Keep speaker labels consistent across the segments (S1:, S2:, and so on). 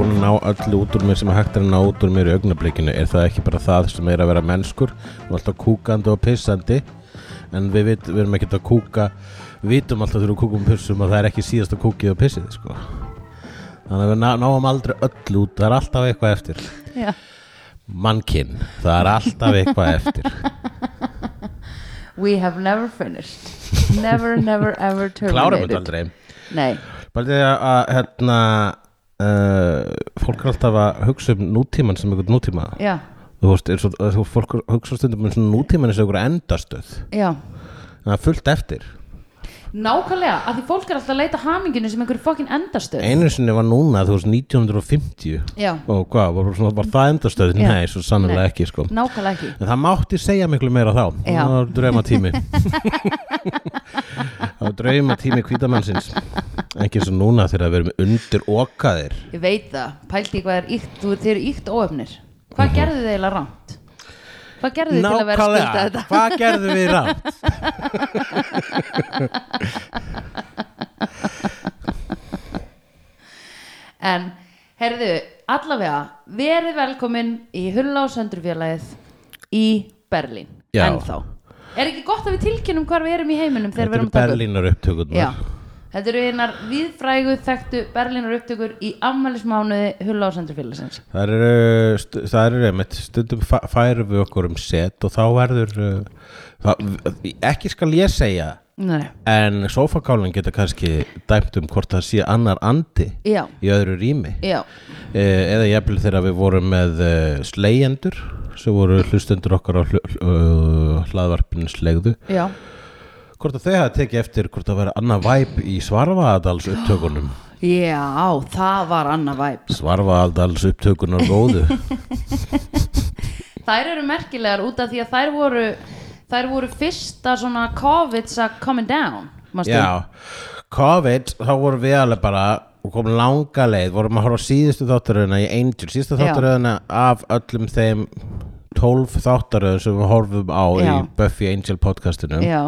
S1: öllu út úr mér sem hægt er að ná út úr mér í augnablikinu er það ekki bara það sem er að vera mennskur og alltaf kúkandi og pissandi en við, vit, við erum ekkert að kúka við vitum alltaf þegar við kúkum og pissum að það er ekki síðast að kúkið og pissið sko. þannig að við ná, náum aldrei öll út það er alltaf eitthvað eftir
S2: Já.
S1: mannkinn, það er alltaf eitthvað eftir
S2: We have never finished Never, never, ever
S1: klárum
S2: terminated
S1: þetta aldrei
S2: Nei,
S1: bara því að, að hérna uh, fólk er alltaf að hugsa um nútíman sem einhvern nútíma
S2: já,
S1: þú veist, er svo, þú, fólk hugsa stundum um svona nútíman eins og einhverja endastöð
S2: já
S1: það er fullt eftir
S2: Nákvæmlega, af því fólk er alltaf að leita haminginu sem einhverju fokkin endastöð
S1: einu sinni var núna, þú veist, 1950
S2: Já,
S1: og hvað, var, svona, var það endastöð?
S2: Já.
S1: nei, svo sannlega
S2: Nei.
S1: ekki sko.
S2: nákvæmlega ekki
S1: en það mátti segja miklu meira þá
S2: Já.
S1: það var draumatími það var draumatími hvítamannsins ekki eins og núna þegar við erum undir okaðir
S2: Ég veit það, pælti hvað er íkt, þú, þið eru íkt óöfnir Hvað
S1: Mhm.
S2: gerðu þið eiginlega rámt? Hvað gerðu þið til að vera að skulda þetta?
S1: hvað gerðum við rátt?
S2: En, herðu, allavega, verið velkomin í Hulla og Söndrufélagið í Berlín
S1: Já.
S2: Ennþá Er ekki gott að við tilkynum hvar við erum í heiminum þegar
S1: Þetta eru
S2: við erum að taka upp?
S1: Berlínar upptökurnar
S2: Já, þetta eru hinnar viðfrægu þekktu Berlínar upptökur í ammælismánuði Hulla og Söndrufélagsins
S1: Það eru, stu- það eru einmitt, stundum fa- færum við okkur um set og þá verður uh, það, ekki skal ég segja
S2: Nei,
S1: en sofakálinn geta kannski dæmt um hvort það sé annar andi
S2: já,
S1: í öðru rými
S2: já,
S1: e, eða jafnvel þegar við vorum með uh, slegjendur sem voru hlustendur okkar á hl uh, hlaðvarpinu slegðu
S2: já
S1: hvort að þau hafa tekið eftir hvort að vera annað væp í svarfaðadals upptökunum
S2: Já, það var annað væp
S1: svarfaðadals upptökunar góðu
S2: Þær eru merkilegar út af því að þær voru þær voru fyrsta svona COVID's a coming down manstu?
S1: Já, COVID þá vorum við alveg bara og komum langa leið, vorum að horfa á síðustu þáttaröðina í Angel, síðustu
S2: Já.
S1: þáttaröðina af öllum þeim 12 þáttaröðum sem við horfum á í
S2: Já.
S1: Buffy Angel podcastinu
S2: Já,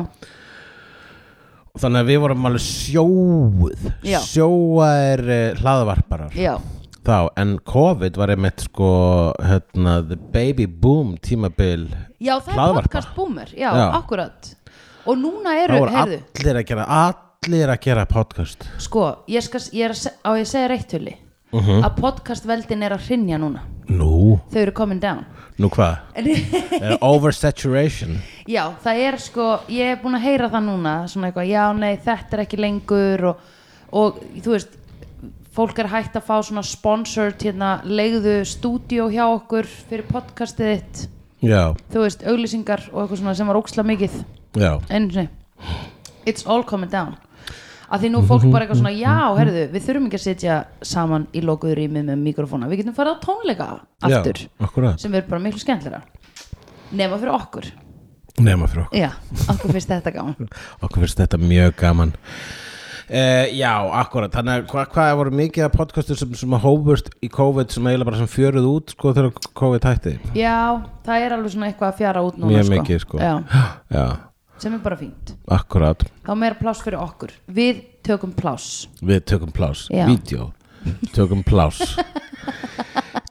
S1: þannig að við vorum alveg sjóð
S2: Já.
S1: sjóaðir eh, hlaðvarparar
S2: já,
S1: þá, en COVID var einmitt sko hérna, the baby boom tímabil
S2: já það er
S1: Hlaðvarpa.
S2: podcast boomer já,
S1: Já.
S2: akkurat og núna
S1: þá
S2: eru,
S1: voru
S2: heyrðu,
S1: allir að gera allir að gera podcast
S2: sko ég skal, ég er að, se- á ég að segja reitt hulli að podcastveldin er að hrinja núna
S1: Nú,
S2: þau eru coming down
S1: nú hvað? Er oversaturation
S2: já, það er sko, ég er búin að heyra það núna svona eitthvað, já, nei, þetta er ekki lengur og, og þú veist fólk er hægt að fá svona sponsored hérna, legðu stúdíó hjá okkur fyrir podcastið þitt
S1: Já,
S2: þú veist, auglýsingar og eitthvað svona sem var óksla mikið
S1: já
S2: einu sinni it's all coming down að því nú er fólk bara eitthvað svona já, herðu, við þurfum ekki að sitja saman í lokuður rými með mikrofóna, við getum farið á tónleika aftur,
S1: Já, akkurat
S2: sem verður bara miklu skemmtlera nema fyrir okkur
S1: Nefna fyrir okkur
S2: já, okkur finnst þetta gaman
S1: Okkur finnst þetta mjög gaman Uh, já, akkurat, þannig að hva, hvað voru mikið af podcastur sem, sem hófust í COVID sem eiginlega bara sem fjöruð út sko þegar COVID hætti
S2: já, það er alveg svona eitthvað að fjara út núna
S1: Mjög mikið sko
S2: Já,
S1: já
S2: sem er bara fínt
S1: akkurat,
S2: þá er meira pláss fyrir okkur, við tökum pláss
S1: við tökum plás,
S2: Já.
S1: vídeo tökum plás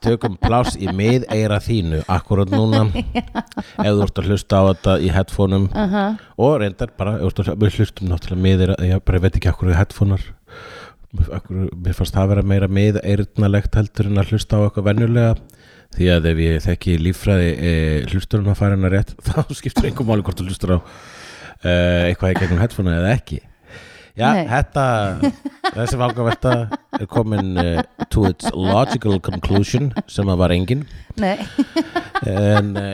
S1: tökum plás í mið eira þínu akkurat núna ef þú ert að hlusta á þetta í headphoneum -huh. og reyndar bara ef þú ert að við hlustum náttúrulega mið eira ég bara veit ekki akkur í headphonear akkur, mér fannst það vera meira mið eirnalegt heldur en að hlusta á eitthvað venjulega því að ef ég þekki líffræði e, hlusturinn að fara hennar rétt þá skiptir einhver máli hvort þú hlustur á e, eitthvað í gegnum headphone eða ekki Já,
S2: Nei.
S1: þetta, þessi vangavelta er komin uh, to its logical conclusion sem að var engin
S2: nei,
S1: en uh,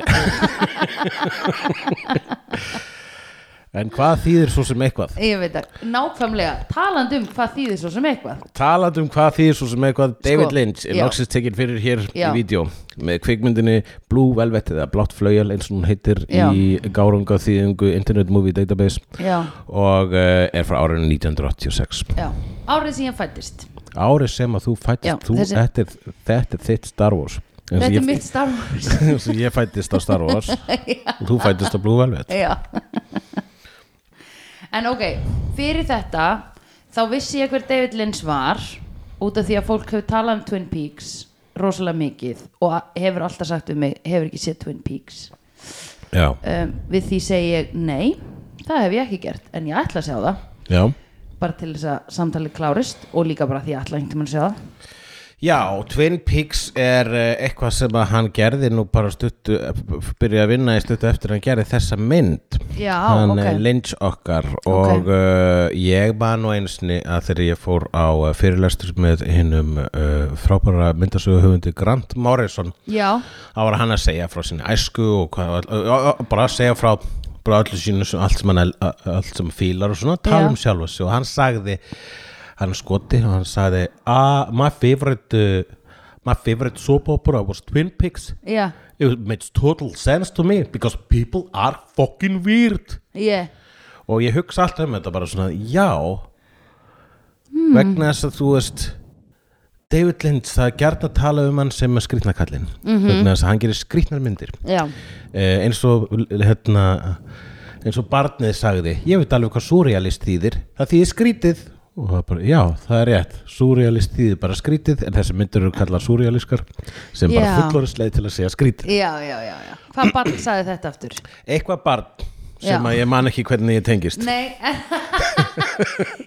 S1: en hvað þýðir svo sem eitthvað
S2: ég veit það nákvæmlega, talandi um hvað þýðir svo sem eitthvað
S1: talandi um hvað þýðir svo sem eitthvað David Lynch er
S2: Sko, já.
S1: loksist tekinn fyrir hér
S2: Já.
S1: í vídeo með kvikmyndinni Blue Velvet eða Blátt Flöjal eins og hún heitir
S2: Já.
S1: í gárunga þýðingu Internet Movie Database
S2: já,
S1: og uh, er frá árinu 1986
S2: já, árið sem ég fættist
S1: árið sem að þú fættist
S2: Já,
S1: þú,
S2: þessi-
S1: þetta, er, þetta er þitt Star Wars Eins og
S2: Þetta
S1: ég-
S2: er mitt starf
S1: eins og ég fættist á Star Wars og þú fættist á Blue Velvet
S2: Já En ok, fyrir þetta þá vissi ég hver David Lynch var út af því að fólk hefur talað um Twin Peaks rosalega mikið og hefur alltaf sagt við mig hefur ekki séð Twin Peaks
S1: já,
S2: um, við því segi ég nei það hef ég ekki gert en ég ætla að sjá það
S1: já
S2: bara til þess að samtalið klárist og líka bara því ég ætla einhvern veginn að sjá það
S1: Já, Twin Peaks er eh, eitthvað sem að hann gerði nú bara stuttu, byrjaði að vinna í stuttu eftir að hann gerði þessa mynd
S2: Já,
S1: hann
S2: ok.
S1: eh, Lynch okkar og
S2: Ok.
S1: uh, ég bara nú einsni að þegar ég fór á eh, fyrirlestur með hinnum uh, frábæra myndasöguhöfundi Grant Morrison
S2: já,
S1: þá var hann að segja frá sinni æsku og hvað, ö- ö- ö- bara að segja frá bara öllu sínu, svo- allt sem hann el- ö- ö- allt sem hann fílar og svona, tala
S2: Já.
S1: um sjálfa sig og hann sagði, hann er skoti og hann sagði, ah, my favorite uh, my favorite soap opera was Twin Peaks
S2: já,
S1: it makes total sense to me because people are fucking weird
S2: ég
S1: og ég hugsa alltaf um þetta bara svona já
S2: Hmm.
S1: vegna þess að þú veist David Lynch það er gert að tala um hann sem er skrýtnakallin
S2: Mhm.
S1: vegna þess að hann gerir skrýtnar myndir
S2: já,
S1: eh, eins og hérna, eins og barnið sagði ég veit alveg hvað surrealist þýðir það þýðir skrítið og það er bara, já, það er rétt, surrealist þýðir bara skrítið en þessi myndir eru kallað surrealiskar sem bara
S2: Já.
S1: fullorðisleið til að segja skrítið
S2: já, já, já, já. hvað barn sagði þetta aftur?
S1: eitthvað barn sem
S2: Já.
S1: að ég man ekki hvernig ég tengist
S2: Nei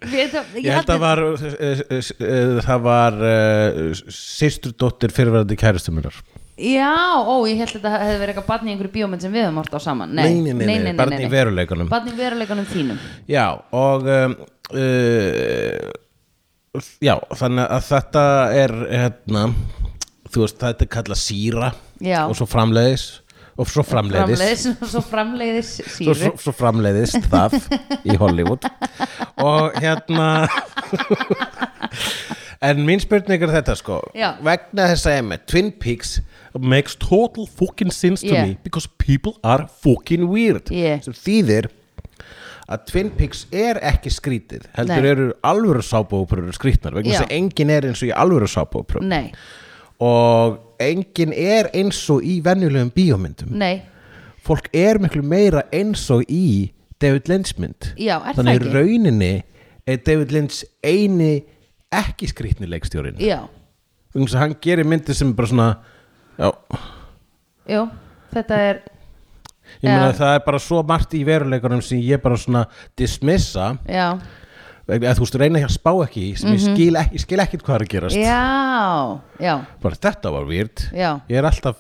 S2: Við, það,
S1: Ég held að var, eh, eh, eh, það var uh, sýsturdóttir fyrirverandi kæristu minnar.
S2: Já, ó, ég held að þetta hefði verið eitthvað barn í einhverju bíómynd sem við höfum hort á saman Nei,
S1: Nei, nei, nei, nei, barn í veruleikanum.
S2: Barn í veruleikunum þínum
S1: Já, og um, uh, já, þannig að þetta er hérna, þú veist, þetta er kallað síra
S2: Já.
S1: og svo framleiðis og svo framleiðis.
S2: Framleiðis og svo framleiðis
S1: Svo,
S2: síru
S1: svo, svo framleiðist það í Hollywood og hérna en mín spurning er þetta sko
S2: Já.
S1: vegna þess að ég með Twin Peaks makes total fucking sense to
S2: Yeah.
S1: me because people are fucking weird
S2: Yeah.
S1: sem þýðir að Twin Peaks er ekki skrítið heldur
S2: Nei.
S1: eru alvöru sábóprur skrítnar vegna þess
S2: Já.
S1: að engin er eins og í alvöru sábóprur
S2: Nei,
S1: og engin er eins og í venjulegum bíómyndum
S2: nei,
S1: fólk er miklu meira eins og í David Lynch mynd
S2: Já, er það
S1: þannig
S2: ekki?
S1: í rauninni er David Lynch eini ekki skrýtni leikstjórin
S2: já,
S1: þannig að hann gerir myndi sem er bara svona já,
S2: jú, þetta er
S1: ég meina
S2: Já.
S1: það er bara svo margt í veruleikunum sem ég bara svona dismissa
S2: Já,
S1: eða þú veist reyna að spá ekki í, sem ég skil ekki, ég skil ekkit hvað er að gerast
S2: Mhm. já, já
S1: bara þetta var výrt
S2: Já.
S1: ég er alltaf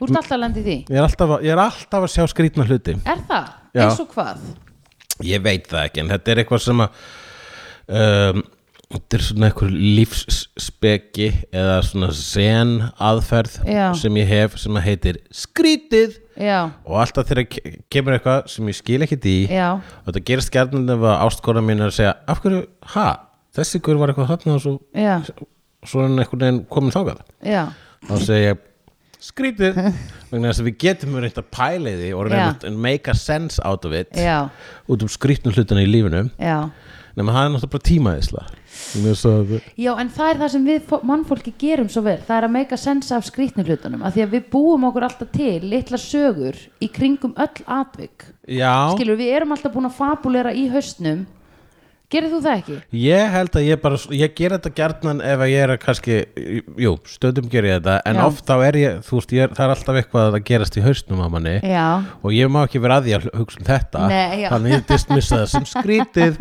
S2: Þú ert alltaf að lenda í því
S1: ég er alltaf, að- ég er alltaf að sjá skrýtna hluti
S2: Er það?
S1: Já.
S2: Eins og hvað?
S1: Ég veit það ekki, en þetta er eitthvað sem að um, þetta er svona eitthvað lífsspeki eða svona sen aðferð
S2: Já.
S1: sem ég hef sem að heitir skrítið
S2: Já,
S1: og alltaf þegar ke- kemur eitthvað sem ég skil ekkit í
S2: já,
S1: og þetta gerist gjarnan ef að ástkona mín er að segja af hverju, ha, þessi hver var eitthvað þarna og svo,
S2: já,
S1: svo er hann einhvern veginn komin þákað
S2: já
S1: þá segja ég skrítið vegna þess að við getum reynt að pæla í því og reyna
S2: Já.
S1: að make a sense out of it
S2: Já,
S1: út um skrýtnum hlutina í lífinu
S2: já
S1: nema það er náttúrulega bara tímaðisla að,
S2: Já, en það er það sem við fó- mannfólki gerum svo vel, það er að meika sensa af skrýtni hlutunum, af því að við búum okkur alltaf til litla sögur í kringum öll atvik,
S1: já,
S2: skilur við erum alltaf búin að fabulera í haustnum gerir þú það ekki?
S1: ég held að ég bara ég ger þetta gjarnan ef að ég er að kannski jú, stöðum ger ég þetta en
S2: Já.
S1: oft þá er ég, þú veist, ég er, það er alltaf eitthvað að gerast í haustnum á manni
S2: Já,
S1: og ég má ekki vera að því að hugsa um þetta
S2: Nei, já.
S1: þannig ég dismissa það sem skrítið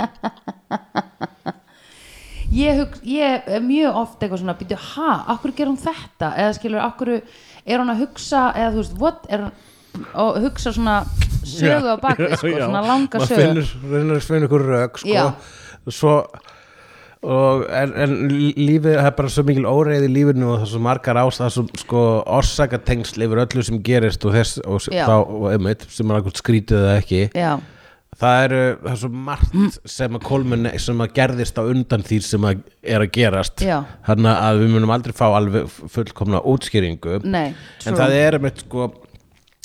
S2: ég, hug, ég er mjög oft eitthvað svona, býtu, ha, akkur ger hún þetta eða skilur, akkur er hún að hugsa eða þú veist, what er hún og hugsa svona sögu á bakvið sko,
S1: Já, já.
S2: svona langa
S1: Maður
S2: sögu
S1: finnur, reynir að finna ykkur rök sko.
S2: Já.
S1: svo og, en, en lífið það er bara svo mikil óreiði í lífinu og það er svo margar ás það er svo sko orsakatengsl yfir öllu sem gerist og þess og s-
S2: Já.
S1: þá, og einmitt, sem er akkur skrítið eða ekki
S2: Já, Mm.
S1: það eru, það er svo margt sem að kolmun, sem að gerðist á undan því sem að er að gerast
S2: Já.
S1: þannig að við munum aldrei fá alveg fullkomna útskýringu
S2: nei,
S1: en það er einmitt sko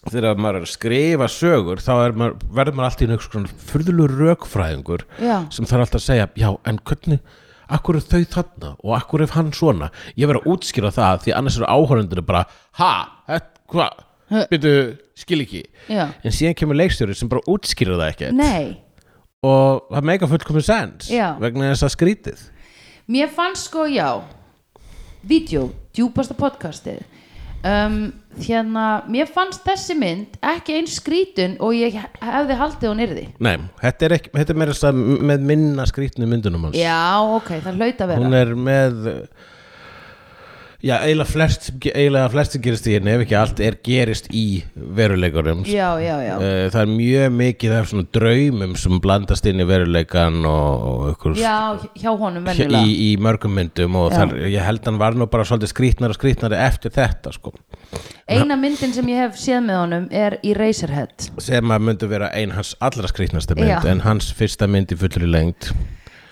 S1: þegar maður er að skrifa sögur þá er maður, verður maður alltaf í einhvers fyrðulur rökfræðingur
S2: Já.
S1: sem þarf alltaf að segja, já en hvernig akkur er þau þarna og akkur er hann svona ég verður að útskýra það því annars eru áhörundinu bara, ha, þetta, hvað byrju, skil ekki
S2: Já.
S1: en síðan kemur leikstjóri sem bara útskýra það ekki
S2: Nei,
S1: og það meika fullkomun sens
S2: Já.
S1: vegna þess að skrítið
S2: Mér fannst sko já vídeo, djúpasta podcastið um, hérna, mér fannst þessi mynd ekki eins skrítin og ég hefði haldið hún yrði
S1: Nei, þetta er, ekki, þetta er meira þess að með minna skrýtnu myndunum hans
S2: já, ok, það hlaut að vera
S1: Hún er með Já, eiginlega flest, eiginlega flest sem gerist í henni ef ekki allt er gerist í veruleikunum
S2: já, já, já,
S1: Eh, Það er mjög mikið af svona draumum sem blandast inn í veruleikan og, og ykkur
S2: já, hjá honum
S1: í,
S2: venjulega
S1: í mörgum myndum og þar, ég held hann var nú bara svolítið skrýtnar og skrýtnari eftir þetta sko
S2: eina myndin sem ég hef séð með honum er í Razorhead
S1: sem að myndi vera ein hans allra skrýtnasta mynd
S2: Já.
S1: en hans fyrsta mynd í fullri lengd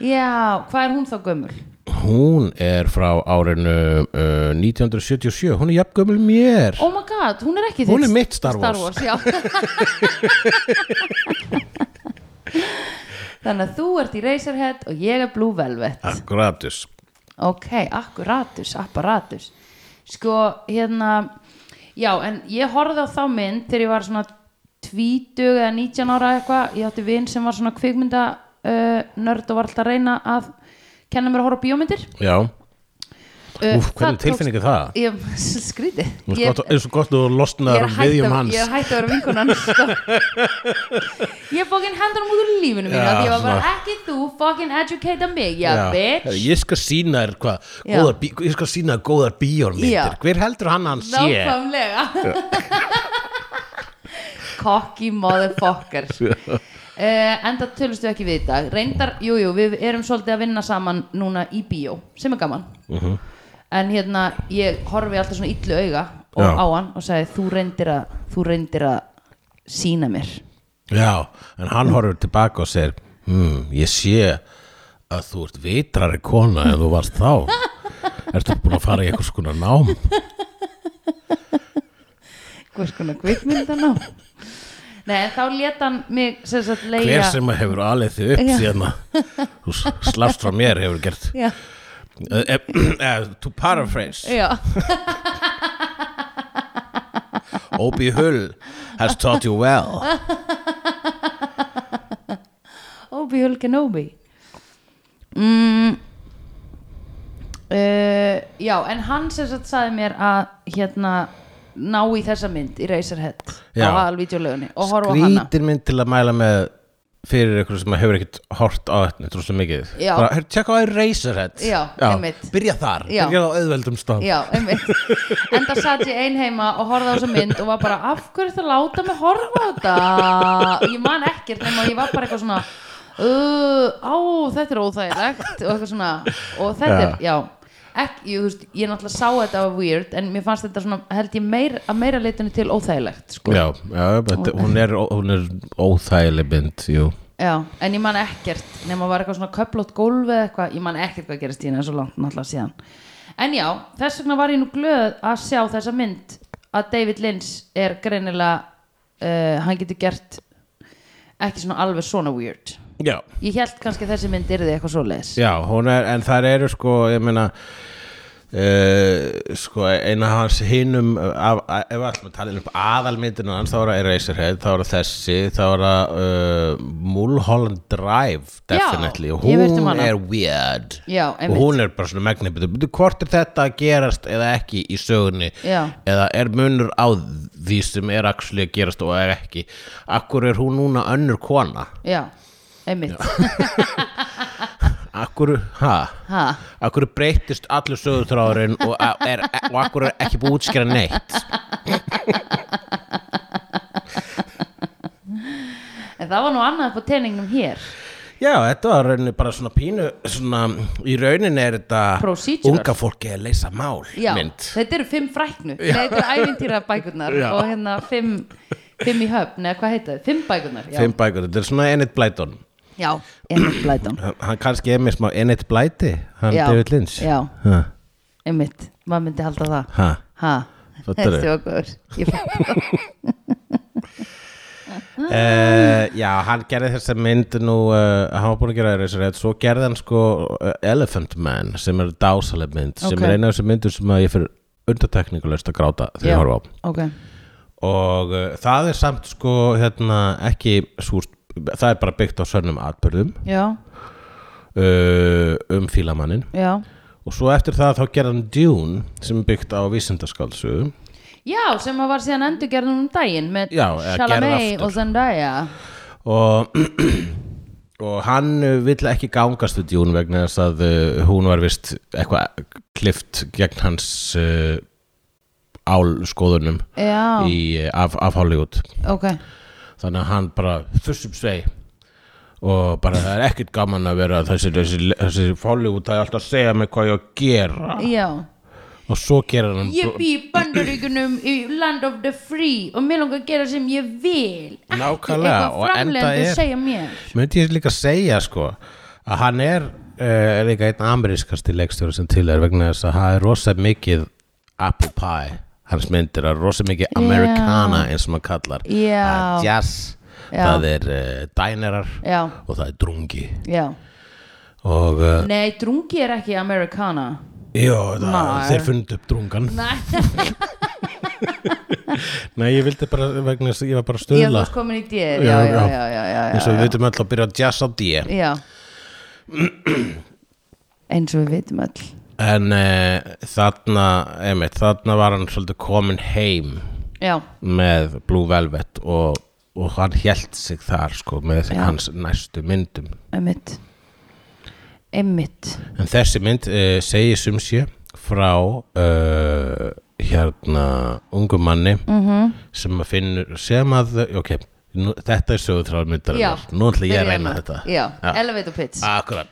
S2: já, hvað er hún þá gömul?
S1: hún er frá árinu uh, 1977, hún er jafngömmul mér
S2: oh my god, hún er ekki
S1: Hún
S2: þitt
S1: er mitt Star Wars.
S2: já. þannig að þú ert í Razorhead og ég er Blue Velvet
S1: Akkuratus
S2: ok, akkuratus, apparatus sko, hérna já, en ég horfði á þá mynd þegar ég var svona tvítug eða 19 ára eitthvað, ég átti vin sem var svona kvikmynda uh, nörd og var alltaf að reyna að kenna mér að horfa á bíómyndir
S1: Já,
S2: uh,
S1: úf, hvernig tilfinning er það?
S2: ég, skrítið
S1: Nú er
S2: Ég-
S1: gott- er svo gott að þú
S2: ég
S1: losnaður
S2: er
S1: um
S2: hætt
S1: viðjum
S2: að-
S1: hans
S2: ég er hætt að vera vinkunan ég fokkin hendur hann út úr lífinu mínu
S1: Já,
S2: af því ég var bara
S1: svona.
S2: ekki þú fokkin educate mig, já, bitch
S1: Ég skal sína þér hvað
S2: Já.
S1: góðar bí- Ég skal sína þér góðar bíórmyndir
S2: Já.
S1: Hver heldur hann að hann sé?
S2: Nákvæmlega Cocky motherfucker uh, Enda tölustu ekki við í dag Reyndar, jú, jú, við erum svolítið að vinna saman núna í bíó, sem er gaman
S1: Mhm.
S2: En hérna, ég horfi alltaf svona illu auga og
S1: Já.
S2: á hann og sagði, þú reyndir að þú reyndir að sína mér
S1: Já, en hann horfur tilbaka og segir hmm, ég sé að þú ert vitrari kona en þú varst þá Ertu búin að fara í einhvers konar nám?
S2: Hvers konar kvikmyndan á Nei, en þá lét hann mig sem sagt
S1: Hver
S2: leiga
S1: sem hefur alið þig upp
S2: Já.
S1: síðan að þú slafst frá mér hefur gert
S2: Já,
S1: uh, uh, uh, To paraphrase
S2: já
S1: Obi Hull has taught you well
S2: Obi-Wan Kenobi mm, uh, Já, en hann sem sagt saði mér að hérna ná í þessa mynd í Razorhead
S1: Já.
S2: á aðalvídeolögunni og horfa á hana
S1: Skrítir mynd til að mæla með fyrir ykkur sem hefur ekkert hort á þetta trústum mikið
S2: Já.
S1: bara, "Heyrðu, tjekka á því Razorhead
S2: Já, einmitt.
S1: byrja þar,
S2: Já.
S1: byrja á auðveldum stað
S2: Já, einmitt Enda satt ég ein heima og horfði á þessa mynd og var bara, af hverju það láta mig horfa á þetta? Ég man ekkert nema ég var bara eitthvað svona uh, Á, þetta er óþægilegt og eitthvað svona, og þetta er, já ekki, ég, þú veist, ég náttúrulega sá þetta var weird, en mér fannst þetta svona held ég meir, að meira leitinu til óþægilegt sko.
S1: Já, já þetta, hún, er, hún er óþægileg mynd, jú
S2: já, en ég man ekkert nema var eitthvað svona köplótt gólfi eða eitthvað, ég man ekkert hvað gerist í henni svo langt náttúrulega síðan en já, þess vegna var ég nú glöð að sjá þessa mynd að David Lynch er greinilega uh, hann getur gert ekki svona alveg svona weird
S1: Já,
S2: ég held kannski að þessi mynd yrði eitthvað svoleiðis
S1: já hún er, en þar eru sko, ég meina uh, sko, eina hans hinum af, af, ef allt með talin upp aðalmyndinu hans, þá er það Eraserhead, þá er það þessi þá er það uh, Mulholland Drive,
S2: Já,
S1: definitely og
S2: ég hef heyrt um
S1: hún
S2: hana.
S1: er weird
S2: Já,
S1: og
S2: einmitt.
S1: hún er bara svona megnið "Bíddu, bíddu, hvort er þetta að gerast eða ekki í sögunni
S2: Já.
S1: eða er munur á því sem er actually að gerast og er ekki akkur er hún núna önnur kona
S2: já, einmitt
S1: akkur, ha
S2: ha,
S1: akkur breytist allur sögutráðurinn og, a- er, og akkur er ekki búið að útskýra neitt
S2: en það var nú annað upp á teiningnum hér
S1: já, þetta var rauninni bara svona pínu svona, í rauninni er þetta
S2: Procedural.
S1: unga fólki að leysa mál
S2: já,
S1: mynd
S2: þetta eru fimm fræknu þetta eru ævintýra bækurnar
S1: Já.
S2: og hérna fimm, fimm í höfn eða hvað heita þau, fimm bækurnar já,
S1: þeim bækur, þetta er svona Enid Blyton
S2: já einmitt blætan
S1: hann, hann kannski er með smá Enid Blyti hann
S2: Já,
S1: David Lynch
S2: já.
S1: ha,
S2: einmitt, maður myndi halda það
S1: ha.
S2: ha,
S1: Fattarðu?
S2: stjókur ég fatt
S1: Uh, já, hann gerði þessa mynd nú, uh, hann var búin að gera Eraserhead svo gerði hann sko uh, Elephant Man sem er dásaleg mynd sem
S2: Ok.
S1: er eina af þessum myndum sem að ég fyrir undartekningulegst að gráta þegar ég horfa á
S2: ok,
S1: og uh, það er samt sko hérna ekki súst, það er bara byggt á sönnum atbyrðum
S2: já,
S1: uh, eh, um fílamannin
S2: já
S1: og og svo eftir það þá gerði hann Dune sem er byggt á vísindaskáldsögu
S2: já, sem að var síðan endurgerð núna um daginn með
S1: Já, eða gerð
S2: Chalamet
S1: aftur.
S2: og Zendaya
S1: og og hann uh, vill ekki gangast við Dune vegna þess að uh, hún var vist eitthvað klift gegn hans uh, álskoðunum
S2: já,
S1: í, uh, af, af Hollywood
S2: ok
S1: þannig að hann bara þussum svei og bara það er ekkert gaman að vera þessi, þessi, þessi Hollywood það er alltaf að segja mig hvað ég á að gera
S2: já,
S1: og svo gerir hann
S2: ég bý í bandaríkunum í land of the free og mér langar að gera sem ég vil Ekki
S1: Nákvæmlega,
S2: eitthvað
S1: og enda
S2: framleiðendur
S1: er-
S2: segja mér
S1: myndi ég líka segja sko að hann er uh, líka einn amerískasti leikstjóri sem til er vegna þess að hann er rosa mikið apple pie hans myndir að rosa mikið americana eins og maður kallar
S2: Já.
S1: það er jazz,
S2: Já.
S1: það er uh, dænerar
S2: já,
S1: og það er drungi
S2: já
S1: og uh,
S2: nei, drungi er ekki americana
S1: jú, það,
S2: Nei.
S1: þeir fundu upp drungan
S2: nei,
S1: nei, ég vildi bara vegna þess að ég var bara að
S2: ég sko- þú
S1: stuðla
S2: varst komin í dýr já,
S1: Já,
S2: já,
S1: já.
S2: já, já, já, já,
S1: eins og við veitum öll að byrja á jazz á D
S2: já eins og við vitum öll
S1: en uh, þarna, einmitt, þarna var hann svolítið komin heim
S2: já,
S1: með Blue Velvet og, og hann hélt sig þar sko með
S2: Já.
S1: hans næstu myndum
S2: emmitt emmitt
S1: en þessi mynd uh, segi sumsjö frá uh, hérna ungum manni
S2: Mhm.
S1: -hmm. sem að finnur sem að, ok, nú, þetta er sögutráð
S2: já,
S1: myndarinnar, nú ætla ég að
S2: byrjum
S1: reyna
S2: við.
S1: þetta Ah.
S2: já, elevator pitch
S1: akkurat,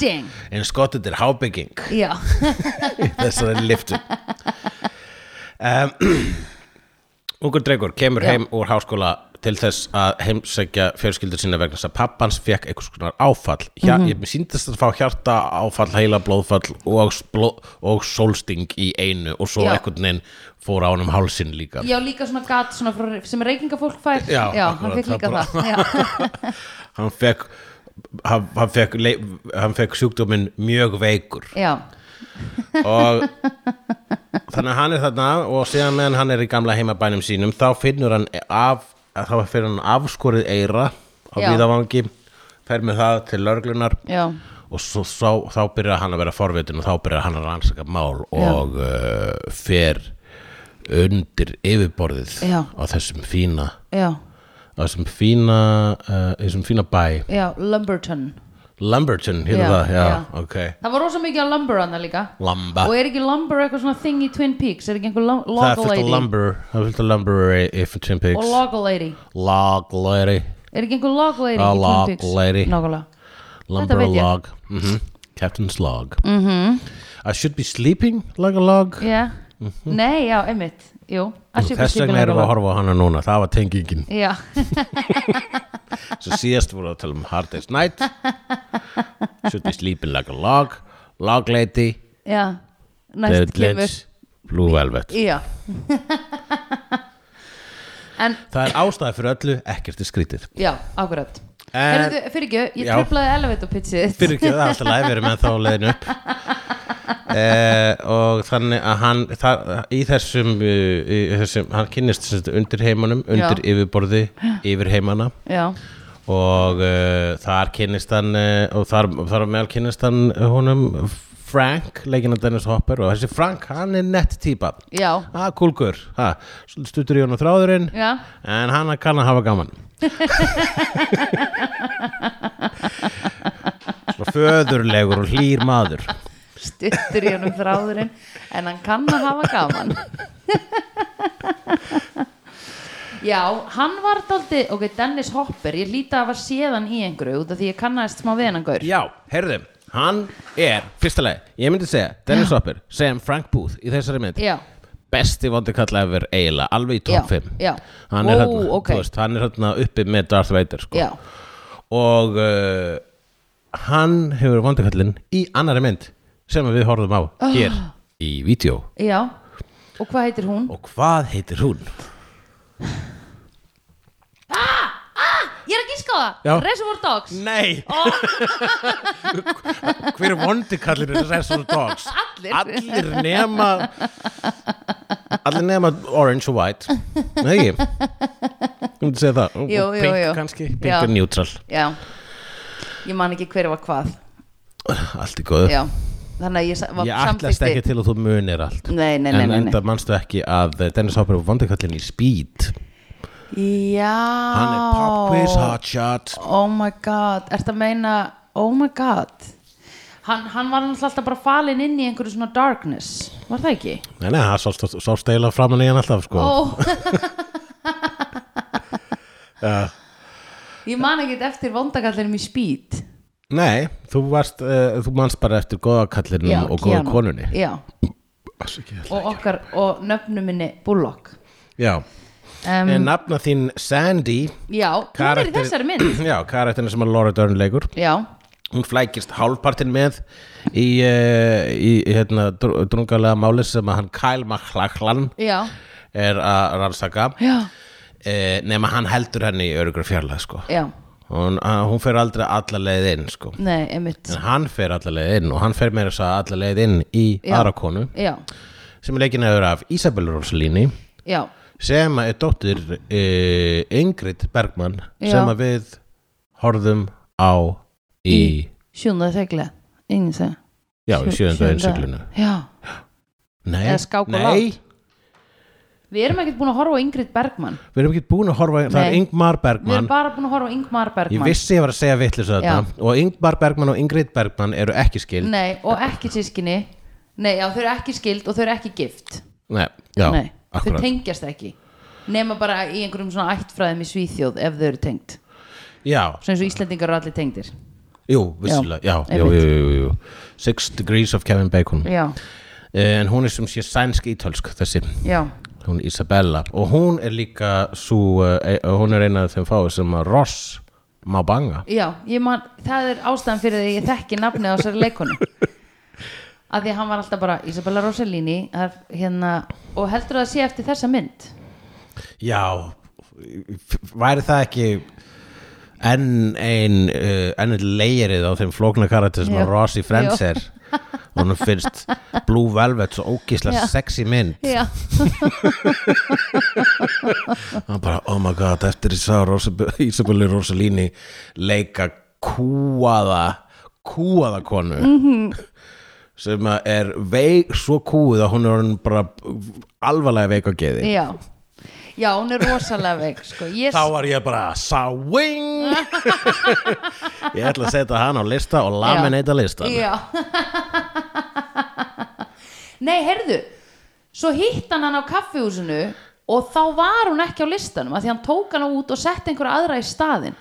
S2: ding,
S1: en skottet er hábygging
S2: já,
S1: þessari liftu um, Ungur drengur kemur
S2: Já.
S1: heim úr háskóla til þess að heimsækja fjörskildur sína vegna þess að pappans fekk einhvers konar áfall Hjá,
S2: Mhm.
S1: mm ég síndist að fá hjarta áfall, heila blóðfall og, bló, og sólsting í einu og svo
S2: Já.
S1: einhvern veginn fór á hann um hálsin líka
S2: já líka svona gat svona frá, sem reykingafólk fær
S1: Já,
S2: hann
S1: akkurat,
S2: fekk
S1: það
S2: líka
S1: bara-
S2: það já,
S1: hann fekk hann, hann, fekk, lei- hann fekk sjúkdóminn mjög veikur
S2: já,
S1: og þannig að hann er þarna og síðan meðan hann er í gamla heimabænum sínum þá finnur hann af þá finnur hann afskorið eira á
S2: Já.
S1: viðavangi, fer með það til lörglunar
S2: já,
S1: og svo, svo, þá byrjar hann að vera forvitin og þá byrjar hann að rannsaka mál og uh, fer undir yfirborðið
S2: Já.
S1: á þessum fína
S2: já,
S1: á þessum fína, uh, þessum fína bæ
S2: já Lumberton
S1: Lumberton, hér
S2: Já,
S1: það, já,
S2: já.
S1: ok
S2: það var rosa mikið að Lumber hann líka
S1: Lamba
S2: og er ekki Lumber eitthvað svona thing í Twin Peaks er ekki einhver
S1: Ah.
S2: lum-
S1: Það er
S2: log
S1: fullt af
S2: lady
S1: lumber, það er fullt af lumber í, í Twin Peaks
S2: og log lady
S1: log lady
S2: Er ekki einhver log lady
S1: Ah,
S2: í Twin
S1: log
S2: Peaks?
S1: lady.
S2: Nákvæmlega.
S1: lumber
S2: veit ég. Mm-hmm.
S1: log mm captain's log mm -hmm. I should be sleeping like a log
S2: Já. Nei, já, einmitt. Jú. I should
S1: Mhm.
S2: be
S1: þess
S2: sleeping
S1: vegna erum við
S2: like
S1: að
S2: a log.
S1: horfa á hana núna það var tengingin
S2: Já,
S1: svo síðast voru að tala um hard day's night should be sleeping like a log log lady
S2: já. Næst
S1: David
S2: kemur.
S1: Lynch Blue Velvet
S2: Já. en,
S1: það er ástæði fyrir öllu ekkert er skrítið
S2: já, akkurat.
S1: En-
S2: Heyrðu, fyrir ekki, ég
S1: Já.
S2: tröflaði elevator pitchið þitt.
S1: fyrir ekki það er alltaf læg við erum en þá leiðin upp eh, og þannig að hann það, í, þessum, uh, í þessum hann kynnist sem sagt undir heimanum undir
S2: Já.
S1: yfirborði yfir heimana
S2: Já,
S1: og uh, þar kynnist hann uh, og þar, þar á meðal kynnist hann uh, honum Frank, leikinn af Dennis Hopper og þessi Frank, hann er nett típa
S2: já,
S1: ha, kúlgur, ha, svolítið stuttur í honum þráðurinn
S2: já,
S1: en hann kann að hafa gaman Svo föðurlegur og hlýr maður
S2: stuttur í honum þráðurinn, en hann kann að hafa gaman. Já, hann var daldi, ok, Dennis Hopper, ég líti að hafa séðan í einhverju út af því ég kannaðist smá við hann gaur.
S1: Já, heyrðu, hann er fyrsta leið, ég myndi segja, Dennis Hopper sem Frank Booth í þessari mynd
S2: Já,
S1: besti vondi kalla efur eiginlega, alveg í
S2: Já,
S1: top 5
S2: já.
S1: hann er
S2: Ó,
S1: hérna,
S2: ok.
S1: þú veist, hann er hérna uppi með Darth Vader sko.
S2: já,
S1: og uh, hann hefur vondi kallin í annari mynd sem við horfum á
S2: Ah.
S1: hér í vídeo
S2: já Og hvað heitir hún?
S1: og hvað heitir hún?
S2: Ég er að gíska á það,
S1: Já.
S2: Reservoir Dogs
S1: Nei Hver er vondi kallir Reservoir Dogs?
S2: Allir.
S1: Allir nema Allir nema Orange og White Nei ekki Ég myndi segja það Og-
S2: Jú,
S1: og
S2: jú,
S1: Pink
S2: jú.
S1: kannski, Pink
S2: Já.
S1: er neutral
S2: Já, ég man ekki hver var hvað
S1: Allt í góðu
S2: Já, þannig að ég sa- var
S1: Ég ætlast ekki til að þú munir allt
S2: Nei, nei, nei,
S1: En
S2: nei, nei.
S1: enda manstu ekki að eh, Dennis Hopper var vondikallin í Speed
S2: Já
S1: Hann er pop quiz hotshot
S2: Oh my god, ert að meina Oh my god Hann, hann var náttúrulega alltaf bara falinn inn í einhverju svona darkness, var það ekki?
S1: Nei, nei, hann sást, sást eiginlega framan í hann alltaf sko.
S2: Ó Ég man ekki eftir vondakallinum í speed
S1: Nei, þú, varst, uh, þú manst bara eftir góða kallinum
S2: Já,
S1: Mm, og góða
S2: Keanu.
S1: konunni
S2: Já, og okkar og nöfnum minni Bullock
S1: Já,
S2: um,
S1: en nafna þín Sandy
S2: Já, hún er í
S1: karakter-
S2: þessari mynd
S1: Já, karakterinn sem að Laura Dern leikur
S2: Já,
S1: hún flækist hálfpartin með í, uh, í hérna, dr- drungalega máli sem að hann Kyle MacLachlan
S2: já,
S1: er að rannsaka
S2: já,
S1: eh, nema hann heldur henni í örugur fjarlæð sko.
S2: já
S1: hún, að- hún fer aldrei alla leið inn sko.
S2: Nei, einmitt
S1: en hann fer alla leið inn og hann fer meira þess að alla leið inn í
S2: Já.
S1: aðra konu
S2: Já,
S1: sem er leikin aður af Isabel Rosalini
S2: já,
S1: sem er dóttir uh, Ingrid Bergman
S2: Já.
S1: sem að við horfðum á í,
S2: sjúnda þegla Ingen seg
S1: já, í sjöðunda einsiklinu
S2: Já,
S1: Nei,
S2: Eða skák og
S1: nei
S2: Við erum ekkert búin að horfa á Ingrid Bergman
S1: við erum ekki búin að horfa það er
S2: Nei.
S1: Ingmar
S2: Við erum
S1: Bergman
S2: bara búin að horfa á Ingmar
S1: ég
S2: Bergman
S1: vissi ég var að segja vitlis þetta og Ingmar Bergman og Ingrid Bergman eru ekki skild
S2: Nei, og ekki sískinni Nei, já, þau eru ekki skild og þau eru ekki gift
S1: Nei, já,
S2: Nei,
S1: akkurat
S2: þau tengjast ekki nema bara í einhverjum svona ættfræðum í Svíþjóð ef þau eru tengt
S1: Já,
S2: svo eins og Íslendingar eru allir tengdir
S1: jú, vissilega Já, já, jú,
S2: einmitt.
S1: jú, jú, jú Six Degrees of Kevin Bacon Eh,
S2: já,
S1: En hún er sem sé sænsk ítölsk þessi
S2: já,
S1: Hún Isabella Og hún er líka svo Hún er eina af þeim fáið sem að Ross má banga
S2: já ég man, það er ástæðan fyrir því að ég þekki nafnið á þessari leikonu að því að hann var alltaf bara Isabella Rossellini er, hérna, og heldur það sé eftir þessa mynd
S1: Já, f- væri það ekki enn ein uh, enn einn leirið á þeim flókna karakter sem
S2: Jú.
S1: að Ross í Friends
S2: Jú.
S1: er hún finnst Blue Velvet svo ógísla
S2: Já.
S1: sexy mynd
S2: já,
S1: hann bara, oh my god, eftir ég sá Rosa- Isabelli Rosalini leika kúaða kúaða konu
S2: Mhm.
S1: sem að er veik svo kúið að hún er orðin bara alvarlega veik á geði
S2: já já, hún er rosalega veik sko. ég,
S1: þá var ég bara sáing ég ætla að setja hann á lista og laminata listan
S2: Já Nei, heyrðu Svo hitt hann hann á kaffihúsinu og þá var hún ekki á listanum að því hann tók hann út og sett einhverja aðra í staðin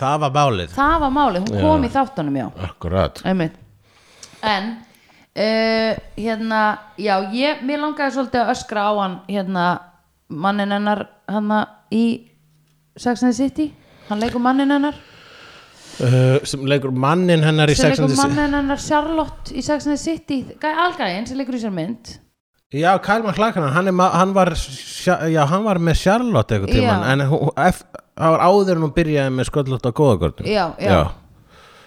S1: það var bálið
S2: Það var málið, hún kom í þáttunum já
S1: akkurat
S2: Einmitt. En uh, hérna, já, ég mér langaði svolítið að öskra á hann hérna, mannin hennar hann í Sex and the City hann leikur mannin hennar
S1: uh, sem leikur mannin hennar í
S2: sem
S1: Sex and
S2: leikur
S1: the City
S2: mannin hennar Charlotte í Sex and the City algæðin sem leikur í sér mynd
S1: já, Kalmar Klakana, hann, er ma- hann, var, sja- já, hann var með Charlotte eitthvað tíman
S2: Já.
S1: en hún- ef- það var áður en hún byrjaði með sköllótt á góðagörnum
S2: Já, já.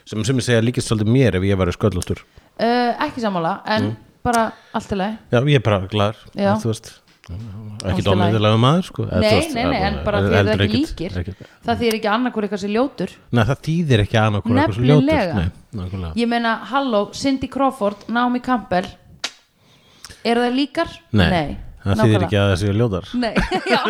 S1: sem sem ég segja líkist svolítið mér ef ég væri sköllóttur
S2: uh, ekki sammála en
S1: Mm.
S2: bara allt í lagi
S1: já, ég er bara glæður
S2: Já.
S1: þú veist
S2: Allt í
S1: ekki
S2: lagi.
S1: dómiðilega maður sko eða, þú
S2: nei,
S1: veist,
S2: nei, nei, en bara því að
S1: heldur
S2: það ekki
S1: ekkit-
S2: líkir
S1: ekkit-
S2: það því er ekki annarkur eitthvað sem ljótur
S1: Nei, það þýðir ekki annað hvort eitthvað svo
S2: Nefnilega.
S1: ljótur. sko. Nei, nákvæmlega.
S2: ég meina, halló, Cindy Crawford Naomi Campbell eru það líkar?
S1: Nei, það þýðir ekki að það séu ljótar.
S2: Nei, já,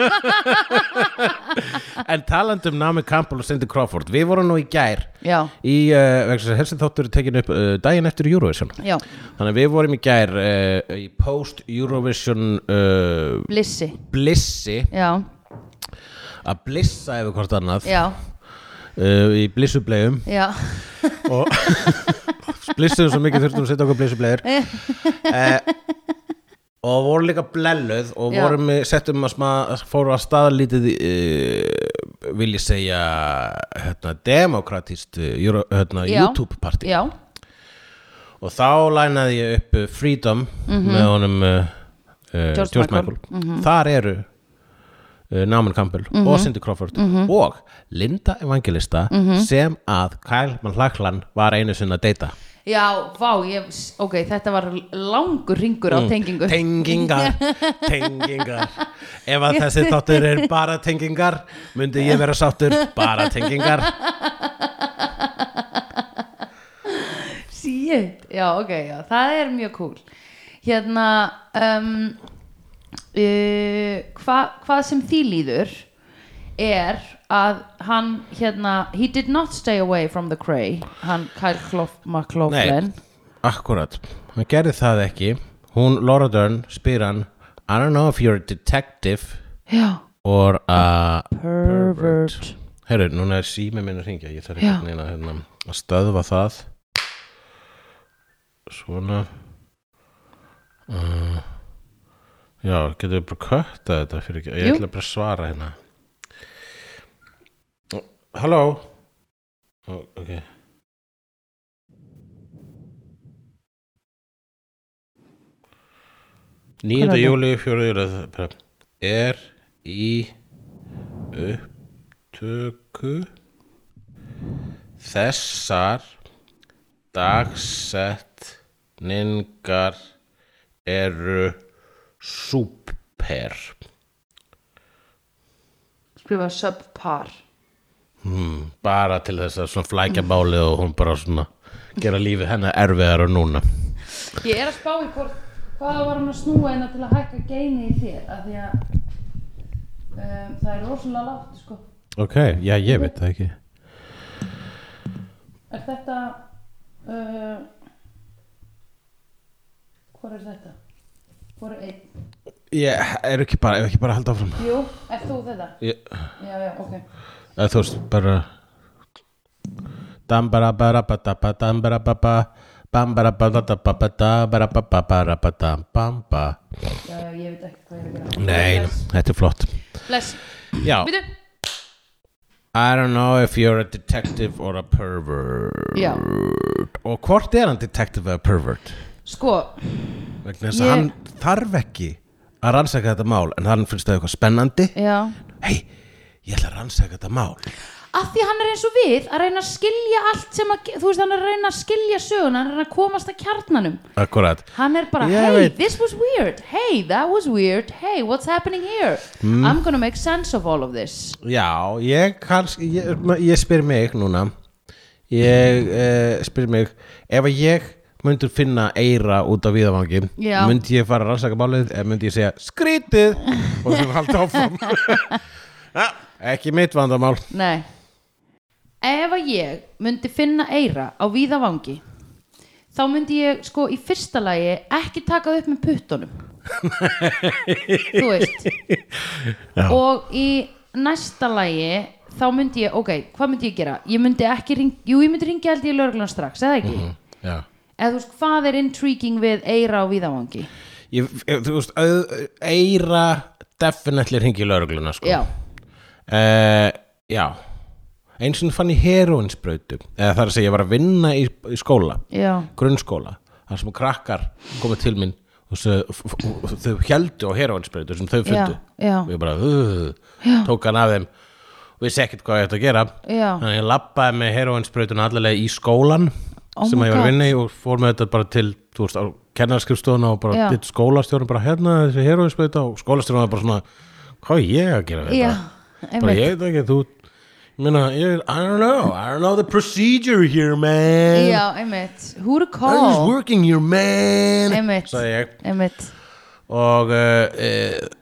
S1: En talandi um Naomi Campbell og Cindy Crawford, við vorum nú í gær
S2: já,
S1: í, uh, vegna þess að þessi þáttur er tekin upp uh, daginn eftir Eurovision.
S2: já,
S1: Þannig að við vorum í gær uh, í post-Eurovision uh,
S2: blissi
S1: blissi,
S2: já,
S1: að blissa yfir hvort annað,
S2: já,
S1: uh, í blissublegum
S2: já
S1: og blissuðum svo mikið þurftum að setja okkur blissublegur eh, og voru líka blelluð og
S2: Já.
S1: vorum við settum að smá fóru að staðlítið eh, vil ég segja hérna, demokratist eh, Euro, hérna,
S2: Já.
S1: YouTube partí
S2: já,
S1: og þá lænaði ég upp eh, Freedom með honum uh, uh,
S2: George
S1: George, Michael, þar eru uh, Naomi Campbell og Cindy Crawford og Linda Evangelista sem að Kyle Manhlaklan var einu sinna að deyta
S2: já, vá, ég, ok, þetta var langur ringur á
S1: Mm.
S2: Mm. tengingu
S1: tengingar, tengingar ef að þessi þáttur er bara tengingar myndi ég vera sáttur bara tengingar
S2: Shit, já ok, já, það er mjög cool Hérna um, uh, hva, Hvað sem því líður er að hann hérna, he did not stay away from the cray hann Kyle Klof- McLaughlin
S1: Akkurat, hann gerði það ekki Hún, Laura Dern, spyr hann I don't know if you're a detective
S2: Já,
S1: or a
S2: pervert
S1: Herru, núna er sími minn að ringja Ég þarf
S2: Já.
S1: ekki neina hérna, að stöðva það Svona uh, Já, getum við bara kötta þetta fyrir ekki Ég
S2: Jú.
S1: ætla bara að svara hérna Halló Ó, Ok 9.
S2: Hver er það?
S1: júli fjóruður er í upptöku þessar dagsetningar eru súper
S2: skrifa subpar
S1: hmm, bara til þess að svona flækja bálið og hún bara svona gera lífið hennar erfiðar og núna
S2: Ég er að spá í hvort hvað var hann að snúa hérna til að hækka geini í þér af því að um, það er rosalega lágt sko
S1: ok, já ég veit það ekki
S2: Er þetta uh, Hvor er þetta? Hvor er einn?
S1: ég er ekki bara, ef ekki bara að halda áfram
S2: Jú, er þú þetta?
S1: ég,
S2: Já, já, ok
S1: eða þú veist bara dambarabarabatapa dambarababa bambarabatatapapa dambarababarabatapamba
S2: Já, já, ég veit ekki hvað ég er að gera
S1: Nei, þetta er flott
S2: Bless
S1: Já,
S2: Býtu
S1: I don't know if you're a detective or a pervert
S2: Já,
S1: Og hvort er hann detective eða pervert?
S2: sko
S1: Vegna þess að
S2: Ég-
S1: hann þarf ekki að rannsaka þetta mál En hann finnst það eitthvað spennandi
S2: Já
S1: Hei, ég ætla að rannsaka þetta mál
S2: Af því hann er eins og við að reyna að skilja allt sem að Þú veist, hann er að reyna að skilja söguna Hann er að reyna að komast að kjarnanum
S1: Akkurat
S2: Hann er bara,
S1: Ég
S2: hey,
S1: veit.
S2: this was weird Hey, that was weird Hey, what's happening here?
S1: Mm.
S2: I'm gonna make sense of all of this
S1: Já, ég kannski, ég, ég spyr mig núna ég eh, spyr mig ef að ég myndur finna eira út á viðavangi
S2: Já.
S1: myndi ég fara að rannsaka málið eða myndi ég segja skrítið og sem halda áfram ja, ekki mitt vandamál
S2: Nei Ef að ég myndi finna eira á víðavangi þá myndi ég sko í fyrsta lagi ekki taka það upp með puttunum Þú veist
S1: Já.
S2: Og í næsta lagi þá myndi ég, ok, hvað myndi ég gera? Ég myndi ekki ring, jú ég myndi ringja held ég lögreglan strax, eða ekki?
S1: Mhm. Já.
S2: Eða þú veist, hvað er intriguing við eira á víðavangi?
S1: Ég, ég, þú veist, auð- eira definitely hringi í laurugluna sko.
S2: Já,
S1: Eh, já eins og fann ég heroinsbrautum eða það er að segja ég var að vinna í, í skóla
S2: já,
S1: grunnskóla þar sem krakkar komu til mín og, svo, og þau heldu á heroinsbreytu sem þau fundu
S2: Já, já.
S1: og ég bara uh, tók hann af þeim og vissi ekkert hvað ég ætti að gera
S2: Já.
S1: þannig að ég labbaði með heroinsbreytuna allalega í skólan
S2: Oh
S1: sem
S2: my
S1: að ég var
S2: God.
S1: að vinna í og fór með þetta bara til þú veist, á kennarskrifstofuna og bara
S2: Já.
S1: ditt skólastjórn bara hérna þessi heroinsbreyta og skólastjórn var bara svona hvað er ég að gera við
S2: já,
S1: þetta bara ég veit ekki þú ég meina, ég, I don't know, I don't know the procedure here man
S2: Já, einmitt, who to
S1: I was
S2: call
S1: working here, man
S2: Einmitt,
S1: Sagði ég
S2: einmitt
S1: Og, uh,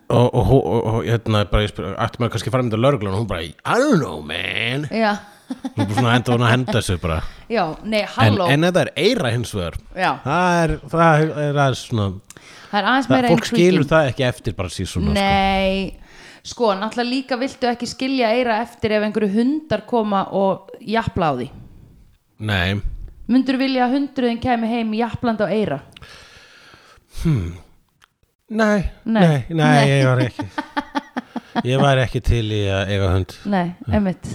S1: og, og, og, og, og hérna bara, ég spyr, ætti maður kannski að fara með lögreglun og hún bara, I don't know, man
S2: Já,
S1: Hún bara svona enda hún að henda þessu bara
S2: já, nei,
S1: En,
S2: halló
S1: en þetta er eira hins vegar
S2: Já.
S1: Það er, það er, það er svona
S2: Það er aðeins
S1: það,
S2: meira
S1: Fólk skilur
S2: intriguing.
S1: það ekki eftir bara síðan svona sko.
S2: Nei, sko, náttúrulega líka viltu ekki skilja eira eftir ef einhverju hundar koma og jafla á því
S1: Nei,
S2: Mundur vilja að hundruðin kemi heim jaflandi á eira
S1: nei, nei,
S2: Nei.
S1: nei, ég var ekki Ég var ekki til í að eiga hund
S2: Nei, einmitt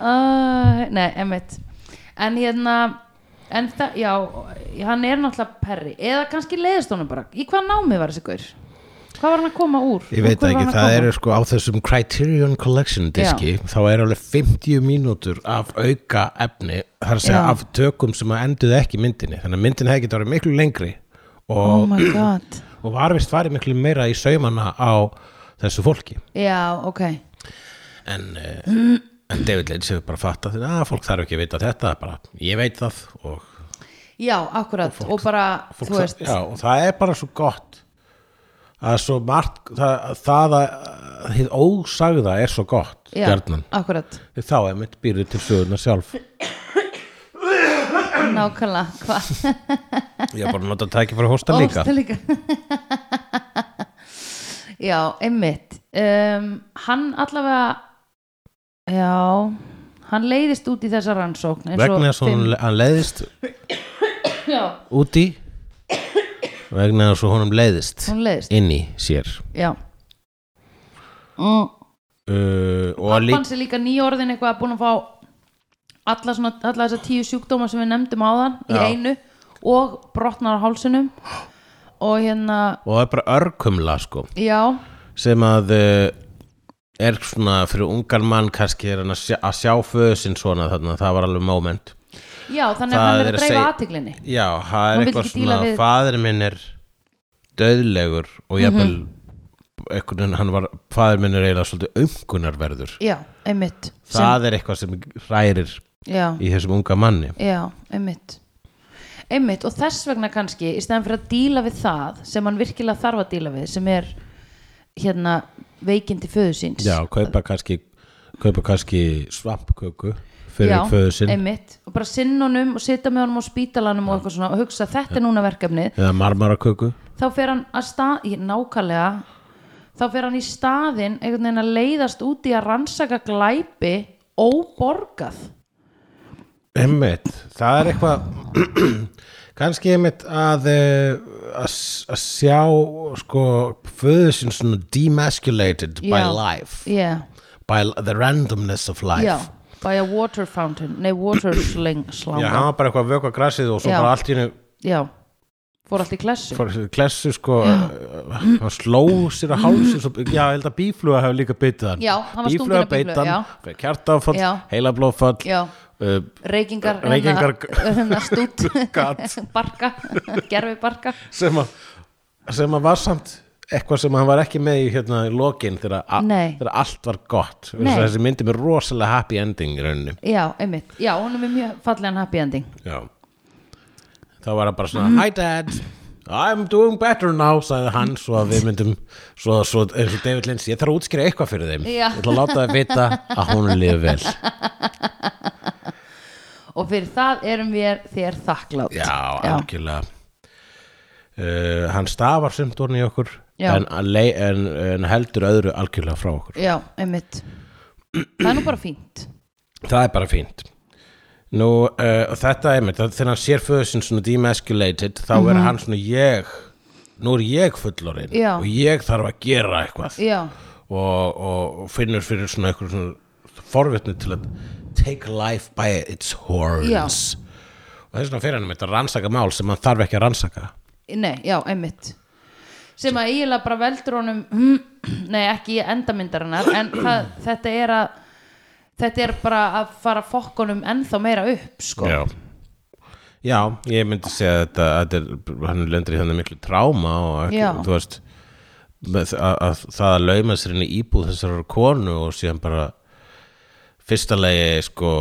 S2: uh, Nei, einmitt En hérna En það, já, hann er náttúrulega perri Eða kannski leiðist honum bara Í hvað námi var þessi gaur? Hvað var hann að koma úr?
S1: Ég
S2: Úr
S1: veit
S2: hverju var
S1: ekki,
S2: hann að
S1: það
S2: koma?
S1: eru sko á þessum Criterion Collection diski þá er alveg 50 mínútur af auka efni þar að segja
S2: Já.
S1: af tökum sem að enduðu ekki í myndinni þannig að myndin hefði getið orðið miklu lengri
S2: Oh
S1: og,
S2: my god
S1: og var vist farið miklu meira í saumana á þessu fólki
S2: Já, ok
S1: en, uh, en David Lynch hefur bara fattað þetta að ah, fólk þarf ekki að vita þetta bara, ég veit það og
S2: já, akkurat og, bara,
S1: fólk
S2: þú
S1: það,
S2: veist
S1: já, og það er bara svo gott að svo margt það, það að að hið ósagða er svo gott
S2: já,
S1: gjarnan
S2: akkurat,
S1: Því þá er mitt býrið til söguna sjálf
S2: nákvæmlega hvað,
S1: ég er bara að nota tæki fyrir að hósta líka
S2: óstu líka já, einmitt um, hann allavega já hann leiðist út í þessa rannsókn eins og
S1: vegna þess að
S2: fimm-
S1: honum- hann leiðist
S2: já,
S1: úti vegna þess að honum leiðist
S2: hún leiðist,
S1: inn í sér
S2: já mm.
S1: uh, og að líka
S2: pappan sé líka nýorðin eitthvað að búin að fá alla, svona, alla þessa tíu sjúkdóma sem við nefndum áðan í
S1: Já.
S2: einu og brotnar á hálsinum og hérna
S1: og það er bara örkumla sko
S2: já,
S1: sem að uh, er svona fyrir ungan mann kannski er hann að sjá, að sjá föðsinn svona þarna, það var alveg moment
S2: já þannig
S1: Það
S2: að hann er
S1: er
S2: að
S1: að
S2: dreifa
S1: segja-
S2: athyglinni
S1: já, það
S2: Hann
S1: er
S2: vill
S1: eitthvað
S2: ekki díla
S1: svona
S2: við-
S1: fadir minn er döðlegur og jafnvel
S2: Mhm.
S1: mm einhvern veginn hann var fadir minn er eiginlega svolítið umkunarverður
S2: já, einmitt sem,
S1: það er eitthvað sem hrærir
S2: já,
S1: í þessum unga manni
S2: já, einmitt einmitt og þess vegna kannski í stæðan fyrir að díla við það sem hann virkilega þarf að díla við sem er hérna veikindi föðu síns
S1: já, kaupa kannski kaupa kannski svampköku fyrir
S2: Já,
S1: föðsinn
S2: einmitt, og bara sinn honum og sita með honum á spítalanum og eitthvað svona og hugsa þetta er núna verkefnið
S1: eða marmaraköku
S2: þá fer hann að stað í nákvæmlega þá fer hann í staðinn einhvern veginn að leiðast út í að rannsaka glæpi óborgað
S1: Einmitt, það er eitthvað kannski einmitt að eh, að s- að sjá sko föður sinn svona demasculated by
S2: Já.
S1: life
S2: yeah.
S1: by l- the randomness of life
S2: já, by a water fountain nei, water sling
S1: Já,
S2: slanga
S1: hann var bara eitthvað að vöka grassið og svo
S2: Já.
S1: bara allt í hennu
S2: já, fór allt í klessu
S1: fór þessi klessu sko eh, hann sló sér að hálsir svo, já, ég held að bífluga hefur líka bitið hann
S2: Já, hann var stunginn
S1: bífluga
S2: af bíflugu,
S1: beitt hann,
S2: já.
S1: fékk hjartaáfall,
S2: Já.
S1: heilablófall
S2: já,
S1: uh,
S2: reykingar
S1: Reykingar-
S2: hérna, hérna stút
S1: gat
S2: barka, gerfi barka
S1: sem að, sem að var samt eitthvað sem hann var ekki með í hérna í lokin þegar, a,
S2: Nei.
S1: þegar allt var gott Þess
S2: Nei.
S1: að þessi myndi með rosalega happy ending í rauninni
S2: já, einmitt, já, hún er með mjög fallegan happy ending
S1: já þá var hann bara svona hi dad I'm doing better now sagði hann svo að við myndum svo, svo, eins og David Lynch ég þarf að útskýra eitthvað fyrir þeim
S2: Já.
S1: ég ætla að láta þeim vita að hún lifi vel
S2: og fyrir það erum við þér þakklátt
S1: já, algjörlega uh, hann stafar sumt orðin í okkur
S2: Já.
S1: en, að lei- en, en heldur öðru algjörlega frá okkur
S2: já, einmitt það er nú bara fínt
S1: það er bara fínt nú, uh, og þetta er mitt þegar hann sér föður sinn svona demasculated þá er hann svona ég nú er ég fullorinn
S2: Mhm. Já.
S1: og ég þarf að gera eitthvað
S2: já,
S1: og, og, og finnur fyrir svona eitthvað svona forvitni til að take life by its horns
S2: Já.
S1: og þess vegna fyrir hann mitt að rannsaka mál sem hann þarf ekki að rannsaka
S2: nei, já, einmitt sem að eiginlega bara veldur honum nei, ekki í endamyndarinnar en það, þetta er að þetta er bara að fara fokkunum ennþá meira upp, sko
S1: Já. Já, ég myndi segja þetta að þetta er, hann lendur í þannig miklu tráma og ekki,
S2: Já.
S1: þú veist með- að, að það að lauma sér inn í íbúð þessarar konu og síðan bara fyrsta legi sko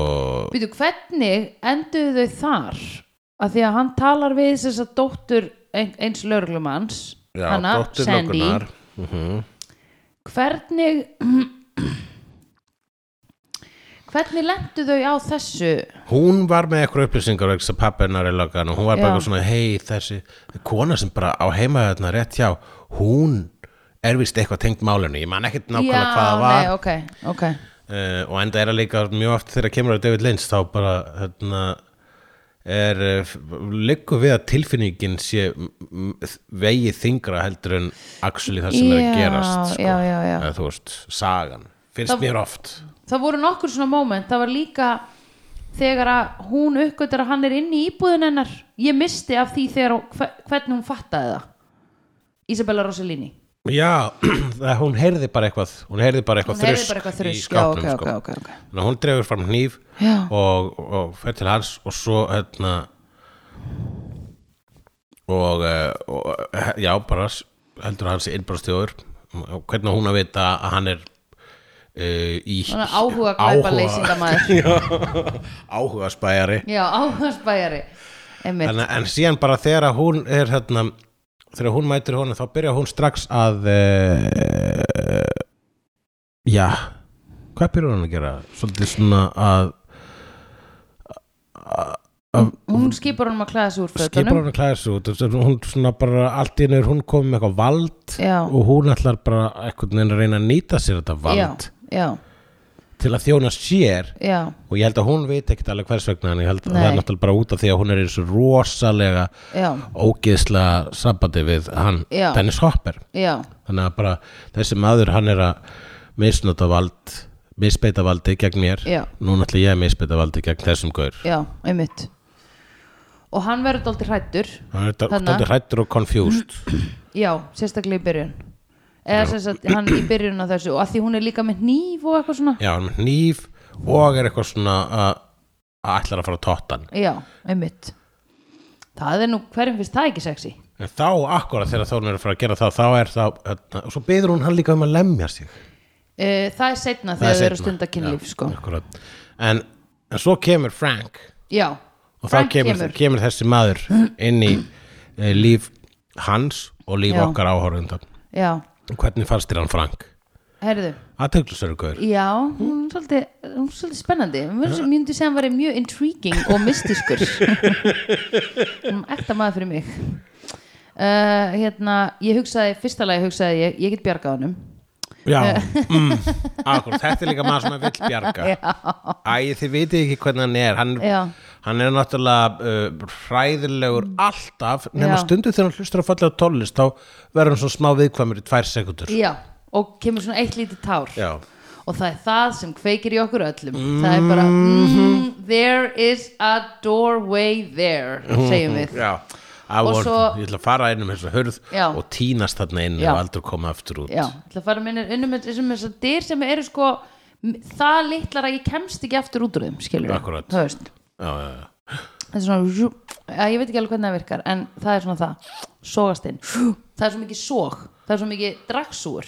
S2: Býtu, hvernig enduðu þau þar? Að því að hann talar við þess að dóttur ein- eins lögreglumanns
S1: já,
S2: hana,
S1: dóttir
S2: Sandy
S1: löggunnar.
S2: hvernig hvernig lendu þau á þessu
S1: hún var með eitthvað upplýsingar vegna pappa hennar er löggan og hún var bara
S2: Já.
S1: eitthvað svona hei þessi kona sem bara á heima þarna rétt hjá hún er vist eitthvað tengt málinu ég man ekkert nákvæmlega
S2: já,
S1: hvað það var
S2: nei, ok, ok
S1: uh, og enda er það líka mjög oft þegar kemur að David Lynch þá bara hérna, er uh, liggur við að tilfinningin sé m- m- vegi þingra heldur en actually það sem er
S2: Já,
S1: að gerast sko.
S2: já, já, já.
S1: Eða, þú veist, sagan, finnst
S2: Það-
S1: mér oft
S2: það voru nokkur svona moment, það var líka þegar að hún uppgötur að hann er inni í íbúðun hennar ég misti af því þegar hún, hve- hvernig hún fattaði það Isabella Rossellini
S1: já, það- hún heyrði bara eitthvað hún heyrði bara
S2: hún
S1: eitthvað
S2: heyrði
S1: þrusk,
S2: bara
S1: í
S2: eitthvað þrjusk já,
S1: skápnum
S2: ok,
S1: sko.
S2: ok, ok, ok
S1: Þannig að hún dregur fram hníf
S2: Já.
S1: og, og fer til hans og svo hérna og, eh, og eh, já, bara s- heldur hans innbrastjóður hvernig á hún að vita að hann er uh, í
S2: Svona áhuga glæpaleysingamaður
S1: áhuga spæjari
S2: Já, áhuga spæjari Einmitt,
S1: en, en síðan bara þegar að hún er hérna, þegar hún mætir honum þá byrjar hún strax að uh, já hvað byrjar hún að gera svolítið svona að
S2: hún skipar honum að klæða sig úr
S1: skipar
S2: fötunum
S1: hún að klæða sig út og svo- hún svona bara allt í einu er hún komið með eitthvað vald
S2: Já.
S1: og hún ætlar bara eitthvað neina að reyna að nýta sér þetta vald
S2: Já, já,
S1: til að þjóna sér
S2: já
S1: og ég held að hún veit ekkert alveg hvers vegna en ég held að
S2: Nei.
S1: það er náttúrulega bara út af því að hún er eins og rosalega
S2: Já,
S1: ógeðsla sambandi við hann
S2: Já.
S1: Dennis Hopper
S2: já,
S1: þannig að bara þessi maður hann er að misnota vald misbeita valdi gegn mér
S2: Já.
S1: núna ætla ég að misbeita valdi gegn þessum gaur
S2: já, einmitt Og hann verður dálítið hrættur
S1: hann er
S2: Þarna.
S1: þetta hrættur og confused
S2: Já, sérstaklega í byrjun Eða sérstaklega hann í byrjun á þessu Og að því hún er líka með hníf og eitthvað svona
S1: já, hann er með hníf og er eitthvað svona að að ætlar að fara að tóttan
S2: Já, einmitt Það er nú, hverjum finnst það ekki sexy?
S1: en þá akkurat þegar þá hún er að fara að gera það þá er það, hérna, og svo byður hún hann líka um að lemja sig
S2: Uh, það er setna
S1: Það
S2: þegar þau eru
S1: seinna.
S2: að stunda kynlíf
S1: Já,
S2: sko.
S1: akkúrat. en, en svo kemur Frank
S2: Já,
S1: og þá kemur, kemur. þessi maður inn í eh, líf hans og líf
S2: Já.
S1: okkar áhörðunda
S2: Já,
S1: hvernig fannst þér hann Frank?
S2: herðu
S1: aðteglusörgur
S2: Já, hún er svolítið, hún er svolítið spennandi Mér mér myndi segja að hann væri mjög intriguing og mystískur Hún er ekta maður fyrir mig uh, Hérna, ég hugsaði fyrsta lagi hugsaði ég, ég get bjargað honum
S1: já, mm, akkur, þetta er líka maður sem að vill bjarga æ, þið vitið ekki hvernig hann er hann,
S2: Já.
S1: hann er náttúrulega uh, hræðilegur alltaf nema
S2: Já.
S1: stundu þegar hann hlustur á fallega tónlist þá verður hann svona smá viðkvæmur í tvær sekundur
S2: Já, og kemur svona eitt lítið tár
S1: já,
S2: og það er það sem kveikir í okkur öllum það er bara mm, there is a doorway there segjum við
S1: já I
S2: Og
S1: want,
S2: svo-
S1: ég ætla að fara inn um þessu hurð
S2: Já.
S1: og tínast þarna inn
S2: Já.
S1: og aldrei koma aftur út
S2: já, ætla að fara minnir innum þessum þessar dyr sem eru sko m- það litlar að ég kemst ekki aftur út úr þeim skilur
S1: Akkúrat.
S2: það veist
S1: já, já, já.
S2: það er svona zhú, ja, ég veit ekki alveg hvernig það virkar en það er svona það, sogast inn Zhú. það er svo mikið sog, það er svo mikið dragsúr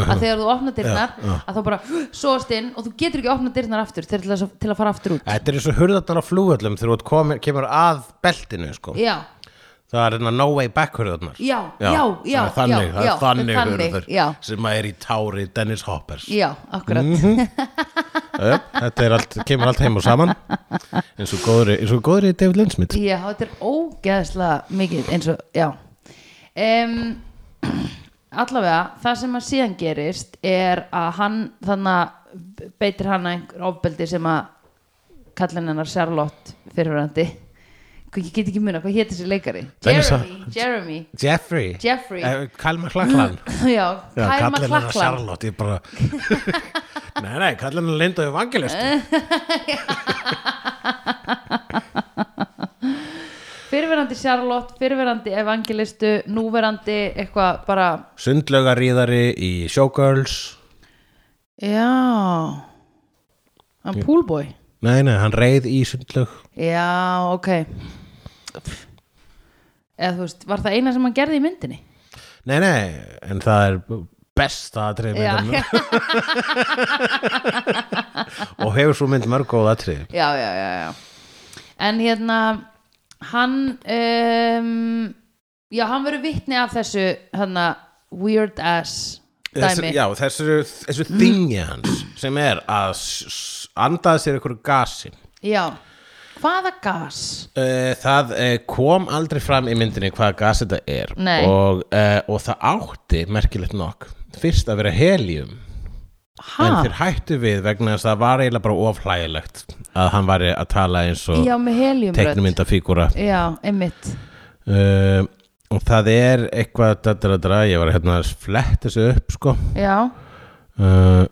S2: að þegar þú opnar dyrnar að þá bara sogast inn og þú getur ekki opnað dyrnar aftur til, til, að, til að fara aftur út
S1: Þetta er eins og hurðarnar á flugvöllum þegar þú komir, kemur að beltinu sko.
S2: já,
S1: það er hérna no way back hurðarnar
S2: Já, já, já,
S1: það er þannig,
S2: já,
S1: það er
S2: já,
S1: þannig,
S2: þannig,
S1: hurðar
S2: já.
S1: sem að er í tári Dennis Hoppers
S2: já, akkurat
S1: Ö, Mhm. Þetta er allt, kemur allt heim og saman eins og góðri, eins og góðri David Linsmith
S2: Já, þetta er ógeðslega mikið eins og, já um, Allavega, það sem að síðan gerist er að hann þannig að beitir hann einhver ofbeldi sem að kallin hennar Charlotte fyrirverandi ég get ekki muna, hvað hétt þessi leikari?
S1: Dennis-
S2: Jeremy, Jeremy
S1: Jeffrey,
S2: Jeffrey.
S1: Eh, Kalma Klaklan
S2: Já,
S1: Já,
S2: Kyle
S1: kallinn hennar
S2: MacLachlan
S1: Charlotte ég bara Nei, nei, kallin hennar Linda Evangelist
S2: Eh. fyrirverandi Charlotte, fyrirverandi evangelistu núverandi eitthvað bara
S1: Sundlaugaríðari í Showgirls
S2: Já Hann poolboy
S1: Nei, nei, hann reið í sundlaug
S2: Já, ok Eða þú veist, var það eina sem hann gerði í myndinni?
S1: Nei, nei, en það er besta atrið
S2: Já, já,
S1: myndanum og hefur svo mynd mörg góð atrið
S2: já, já, já En hérna hann um, já, hann verður vitni af þessu hana, weird ass
S1: þessu,
S2: dæmi
S1: Já, þessu, þessu þingi hans sem er að s- s- andaða sér ykkur gasi
S2: já. Hvaða gas?
S1: Eh, Það eh, kom aldrei fram í myndinni hvaða gas þetta er
S2: Nei.
S1: og, eh, og það átti merkilegt nokk fyrst að vera helium
S2: Ha?
S1: en þeir hættu við vegna þess að það var eiginlega bara ofhlægilegt að hann væri að tala eins og
S2: Já, með heliumrödd
S1: teknumyndafígúra
S2: Já, einmitt
S1: uh, og það er eitthvað dadra, dadra, ég var hérna að flett þessu upp sko
S2: Já,
S1: uh,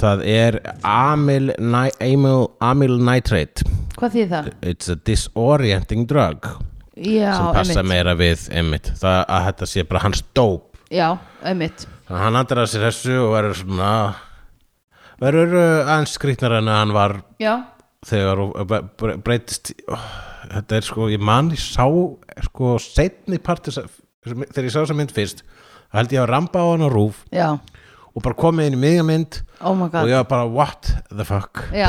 S1: það er amyl, ni, amyl, amyl nitrate
S2: hvað þýð það?
S1: it's a disorienting drug
S2: Já,
S1: sem passa
S2: einmitt
S1: meira við einmitt, það að þetta sé bara hans dóp
S2: Já, einmitt
S1: Þannig að hann andrar sér þessu og verður svona verður uh, aðeins skrýtnar en að hann var
S2: Já,
S1: þegar og bre- bre- breytist í- oh, þetta er sko, ég man ég sá sko setni part þessa- þegar ég sá þessa mynd fyrst þá held ég að ramba á hann á rúf
S2: já,
S1: og bara komið inn í miðjamynd
S2: oh my
S1: og
S2: god
S1: ég var bara what the fuck
S2: já,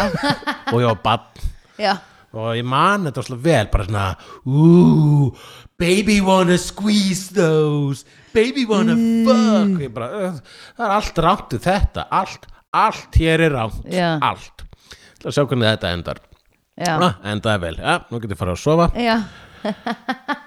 S1: og ég var bann
S2: já,
S1: og ég man þetta svo vel bara svona ooh, baby wanna squeeze those baby wanna
S2: Mm.
S1: fuck og ég bara, "Ugh, það er allt rámt við þetta allt, allt hér er rámt
S2: Já.
S1: allt, til að sjá hvernig þetta endar
S2: já,
S1: ah, endaði vel, ja, nú getur ég farið að sofa
S2: já.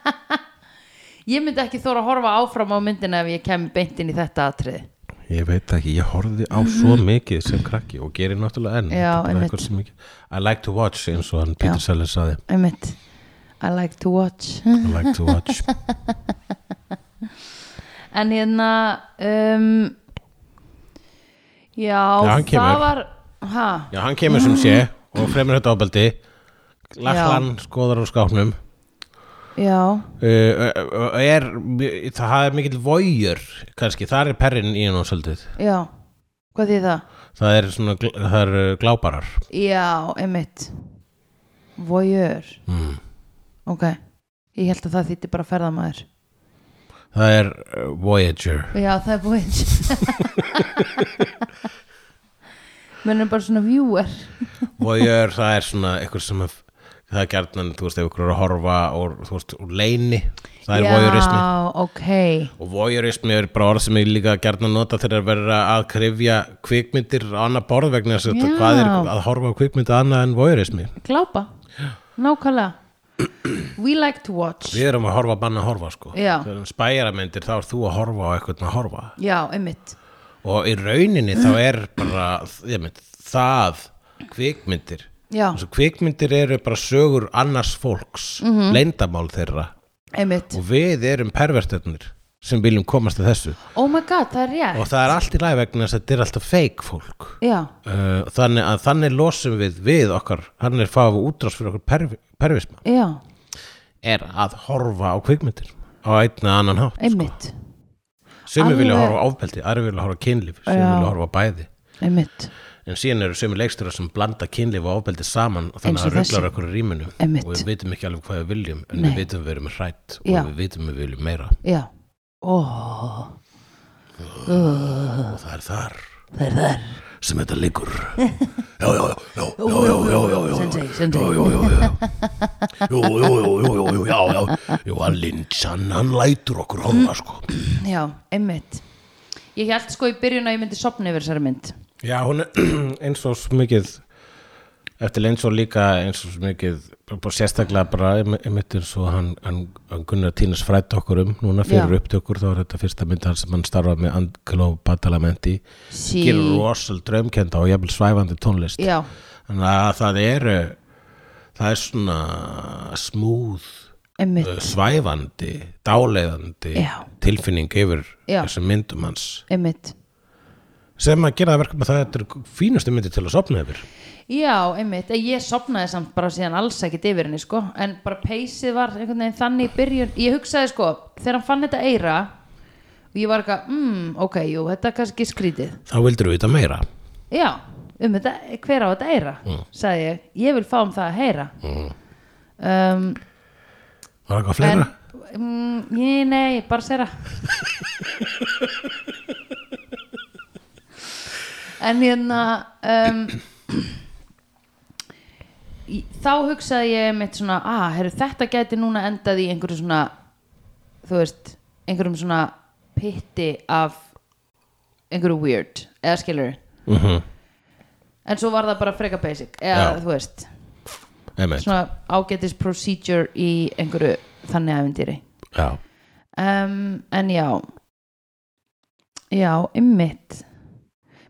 S2: ég myndi ekki þóra að horfa áfram á myndina ef ég kem beint inn í þetta atrið
S1: Ég veit ekki, ég horfði á svo mikið sem krakki og gerir náttúrulega enn
S2: Mhm.
S1: Þetta
S2: Já,
S1: er bara
S2: einmitt.
S1: eitthvað sem ég- I like to watch eins og hann Peter Sellers saði
S2: einmitt I like to watch
S1: I like to watch
S2: en hérna um, já,
S1: Já, hann kemur.
S2: það var ha,
S1: Já, hann kemur sem sé og fremur þetta ábeldi Lachlan skoðar á skápnum
S2: já,
S1: uh, uh, uh, er, Það er mikill vojur kannski, það er perrin í hann og svolítið
S2: já hvað því það?
S1: Það er svona, gl- það er uh, gláparar
S2: Já, einmitt Voyeur
S1: mm.
S2: Ok, ég held að það þýtti bara ferðamaður
S1: Það er uh, Voyager
S2: Já, það er voyeur Menn er bara svona viewer
S1: Voyeur, það er svona eitthvað sem að það er gjarnan, þú veist, ef ykkur er að horfa og, þú veist, og leini það er
S2: Já,
S1: voyeurismi
S2: ok
S1: og voyeurismi er bara orð sem ég líka gjarnan nota þegar að vera að krifja kvikmyndir á annað borð vegna þess að
S2: Já.
S1: þetta- hvað er að horfa á kvikmyndi annað en voyeurismi
S2: Glápa, nákvæmlega We like to watch
S1: við erum að horfa að banna að horfa sko
S2: Já.
S1: þegar um spæjaramyndir þá er þú að horfa á eitthvað að horfa
S2: Já, einmitt
S1: og í rauninni þá er bara ég mynd, það kvikmyndir
S2: Já,
S1: Þessu kvikmyndir eru bara sögur annars fólks
S2: Mhm.
S1: leyndamál þeirra
S2: einmitt
S1: og við erum pervertöfnir sem viljum komast að þessu
S2: Oh my god, það er rétt
S1: og það er allt í lagi vegna þess að þetta er alltaf fake fólk
S2: Já,
S1: uh, þannig að þannig losum við við okkar, hann er fáið útrás fyrir okkar pervi, pervisma
S2: já,
S1: er að horfa á kvikmyndir á einn eða annan hátt
S2: einmitt
S1: Sko. sumir vilja
S2: Alveg.
S1: horfa á ofbeldi, aðri vilja horfa á kynlíf sumir
S2: Já.
S1: vilja horfa á bæði
S2: Einmitt,
S1: en síðan eru sumir leikstur sem blanda kynlíf og ofbeldi saman og
S2: Eins
S1: þannig
S2: og
S1: að
S2: þessi.
S1: rugglar okkur í rýminu
S2: Einmitt.
S1: og við vitum ekki alveg hvað við viljum en
S2: Nei.
S1: við vitum við erum hrætt og
S2: Já.
S1: við vitum við viljum meira
S2: já oh.
S1: og það er þar
S2: Það er þar
S1: sem þetta liggur já, já, já, já, já, já, já, já, já.
S2: Sensei, sensei.
S1: já, já, já, já. Jú, jú, jú, jú, jú, jú, já, já. Jú, hann linchan, hann lætur okkur horfa, sko.
S2: Já, einmitt Ég held sko í byrjun að ég myndi sopna yfir þessari mynd
S1: Já, hún er eins og svo mikið, eftir eins og líka eins og svo mikið, bara sérstaklega bara, einmi- einmitt eins og hann, hann, hann Gunnar Tínes frætt okkur um, núna fyrir
S2: Já.
S1: upptökur, þá er þetta fyrsta mynd hann sem hann starfaði með Angelo Badalamenti,
S2: sí.
S1: gerur rosal draumkenda og jafnvel svæfandi tónlist.
S2: Já,
S1: þannig að það eru það er svona smúð eh,
S2: einmitt,
S1: svæfandi, dáleiðandi
S2: Já.
S1: tilfinning yfir
S2: Já.
S1: þessum myndum hans
S2: einmitt
S1: sem að gera það verkum að það þetta eru fínustu myndir til að sopna yfir
S2: Já, einmitt, en ég sopnaði samt bara síðan alls ekkit yfir henni sko En bara peysið var einhvern veginn þannig í byrjun Ég hugsaði sko, þegar hann fann þetta eira Og ég var eitthvað, mm, ok, jú, þetta er kannski skrítið
S1: þá vildur við þetta meira
S2: Já, um þetta, hver á þetta eira Sagði ég, ég vil fá um það að heyra Um,
S1: var eitthvað fleira?
S2: En, mm, ég, nei, bara sér En hérna um, í- þá hugsaði ég mitt svona, að, heru, þetta gæti núna endað í einhverju svona þú veist, einhverjum svona pitti af einhverju weird, eða skilur
S1: Mm -hmm.
S2: en svo var það bara freka basic eða
S1: Já.
S2: þú veist,
S1: Einmitt,
S2: svona ágætis procedure í einhverju þannig aðvindýri
S1: já
S2: um, en já já, ymmit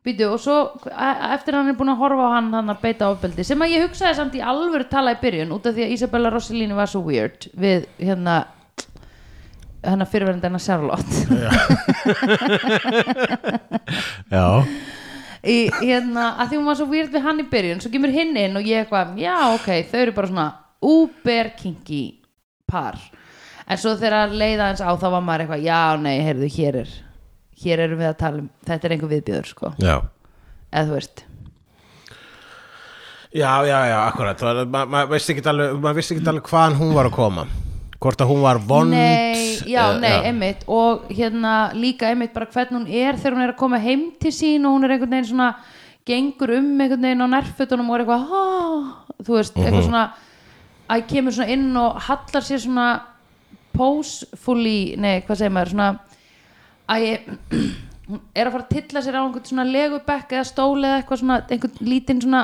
S2: býtu og svo a- eftir að hann er búin að horfa á hann hann að beita ofbeldi sem að ég hugsaði samt í alvöru tala í byrjun út af því að Isabella Rossellini var svo weird við hérna hennar fyrirverandi hennar Charlotte
S1: Já,
S2: í, hérna, að því hún var svo weird við hann í byrjun svo kemur hinn inn og ég eitthvað já ok, þau eru bara svona uber kinky par en svo þegar leiða hans á þá var maður eitthvað já nei, heyrðu, hér er hér erum við að tala um, þetta er einhver viðbjöður sko,
S1: já
S2: eða þú veist
S1: Já, já, já, akkurat maður ma ma veist ekki alveg, ma vissi ekki alveg hvaðan hún var að koma hvort að hún var vond
S2: Nei, já,
S1: eh,
S2: nei, einmitt og hérna líka einmitt bara hvern hún er þegar hún er að koma heim til sín og hún er einhvern veginn svona gengur um einhvern veginn á nærfötunum og er eitthvað "Ha", þú veist, eitthvað svona að kemur svona inn og hallar sér svona posefully, nei, hvað segir maður svona að ég hún er að fara að tilla sér á einhvern svona legubekk eða stóli eða eitthvað svona einhvern lítinn svona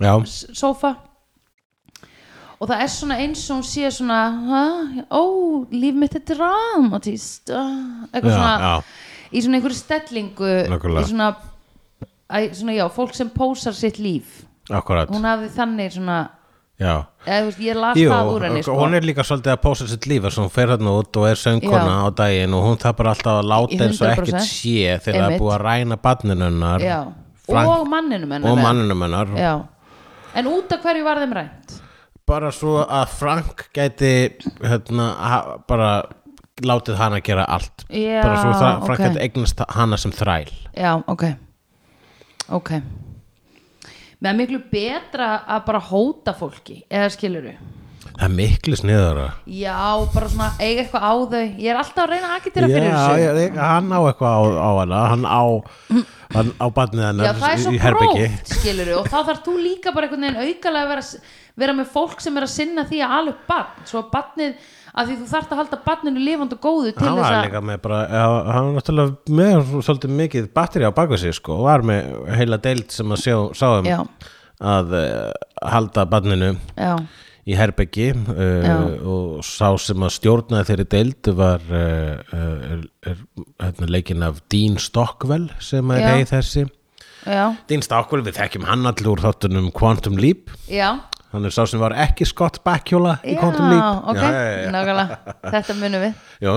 S1: já,
S2: s- sófa og það er svona eins og hún sé svona "Ha? ó, líf mitt er dramatist ah," eitthvað
S1: Já,
S2: svona
S1: já.
S2: í svona einhverju stellingu
S1: Nákvæmlega.
S2: í svona, æ, svona já, fólk sem pósar sitt líf
S1: akkurat
S2: hún hafði þannig svona
S1: já
S2: eða, þú veist, ég las
S1: Jú,
S2: það úr henni sko.
S1: hún er líka svolítið að pósa sitt líf þess að hún fer hérna út og er söngkona
S2: Já.
S1: á daginn og hún tapar alltaf að láta eins og
S2: 100%.
S1: ekkert sé þegar það
S2: Einmitt.
S1: er búið að ræna barninunnar
S2: já,
S1: Frank,
S2: og manninum hennar
S1: og manninum hennar
S2: já. en út af hverju var þeim rænt
S1: bara svo að Frank gæti hérna, ha, bara látið hana gera allt
S2: Já,
S1: bara svo það, Frank
S2: ok.
S1: gæti eignast hana sem þræl
S2: já, ok ok með miklu betra að bara hóta fólki eða skilur við
S1: það er miklu sniðara
S2: Já, bara svona eiga eitthvað á þau Ég er alltaf að reyna að agitera fyrir þessu
S1: já, ég- hann á eitthvað á, á hana hann á, hann á barnið hennar
S2: Já, það er svo
S1: í herbergi.
S2: gróft, skilur og þá þarf þú líka bara einhvern veginn aukalega að vera, vera með fólk sem er að sinna því að ala upp barn, svo að barnið að því þú þarft að halda barninu lifandi og góðu til
S1: hann
S2: þess
S1: var
S2: að
S1: líka með bara já, hann var náttúrulega með svolítið mikið batteri á baku sig sko og var með heila deild sem að sjá, sáum
S2: Já.
S1: að uh, halda barninu
S2: Já,
S1: í herbeggi uh,
S2: Já.
S1: og sá sem að stjórnaði þeirri deild var uh, uh, er, er, hérna, leikinn af Dean Stockwell sem að
S2: Já.
S1: reyð þessi
S2: já,
S1: Dean Stockwell við þekkjum hann allir úr þáttunum Quantum Leap
S2: já
S1: hann er sá sem var ekki Scott Bakula í
S2: Já,
S1: Quantum Leap
S2: ok,
S1: já, já, já,
S2: nákvæmlega Þetta munum við
S1: já.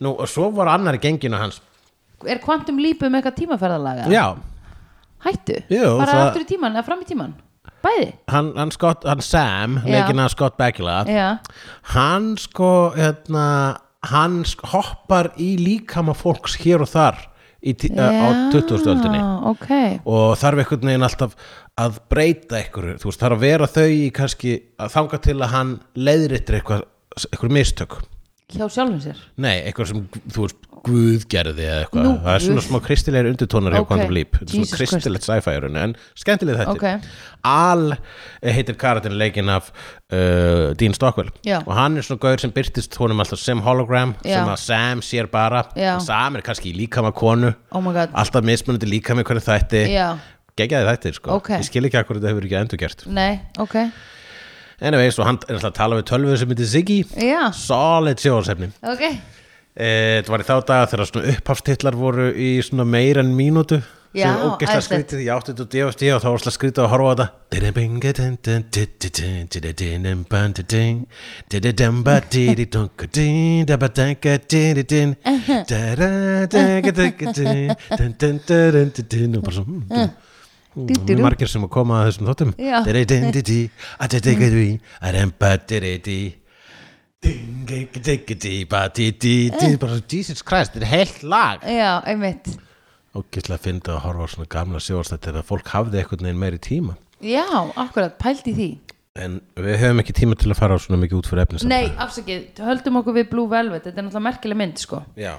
S1: Nú, og svo var annar í genginu hans
S2: Er kvantum lípum eitthvað tímaferðalaga?
S1: já,
S2: Hættu?
S1: Jú,
S2: bara
S1: það-
S2: aftur í tíman eða fram í tíman? Bæði?
S1: hann, hann, Scott, hann Sam
S2: Já.
S1: leikinn að Scott Bakula
S2: Já,
S1: hann sko hérna, hann sk- hoppar í líkama fólks hér og þar í, ti- á 20. öldinni
S2: ok
S1: og þarf einhvern veginn alltaf að breyta einhverju, þú veist, þarf að vera þau í kannski að þanga til að hann leiðritir eitthvað, eitthvað mistök
S2: Hjá sjálfum sér
S1: nei, eitthvað sem, þú veist, guð gerði eða eitthvað,
S2: Nú,
S1: það er svona
S2: guð.
S1: smá kristilegir undirtónar hjá
S2: Ok,
S1: Quantum Leap, Þetta er
S2: Jesus
S1: svona kristilegt sci-fi í rauninni, en skemmtileg þetta
S2: Ok.
S1: Al eh, heitir karatinn leikinn af uh, Dean Stockwell
S2: Já.
S1: og hann er svona gaur sem byrtist honum alltaf sem hologram,
S2: Já.
S1: sem að Sam sér bara
S2: Já.
S1: En Sam er kannski í líkama konu
S2: Oh my god
S1: alltaf mismunandi líkami hvernig þætti
S2: Já.
S1: geggjaði þættir sko,
S2: Ok.
S1: ég skil ekki að hvernig þetta hefur ekki endur gert
S2: Nei, ok
S1: anyway, svo hann er alltaf að tala við tölvu sem heitir Ziggy
S2: Já,
S1: solid sjóðarsefni
S2: ok
S1: Eh, Þetta var í þá daga þegar svona upphafstillar voru í svona meira en mínútu
S2: Já,
S1: sem ógeðslega
S2: æðislegt.
S1: skrítið, ég átti þetta DFD og þá var slega skrítið að horfa á þetta og bara svo mm, Það er margir sem að koma að þessum þóttum
S2: Já.
S1: Dididididi, adididididi, arembadididi, dingidigidi, badididi, bara svo, Jesus Christ, þetta er heilt lag
S2: Já, einmitt
S1: og gæslega fyndi að horfa á svona gamla sjóðastættir að fólk hafði einhvern veginn meiri tíma
S2: Já, akkurat, pælt í því
S1: en við höfum ekki tíma til að fara á svona mikið út fyrir efni samt.
S2: Nei, afsakið, höldum okkur við Blue Velvet Þetta er náttúrulega merkileg mynd, sko
S1: Já.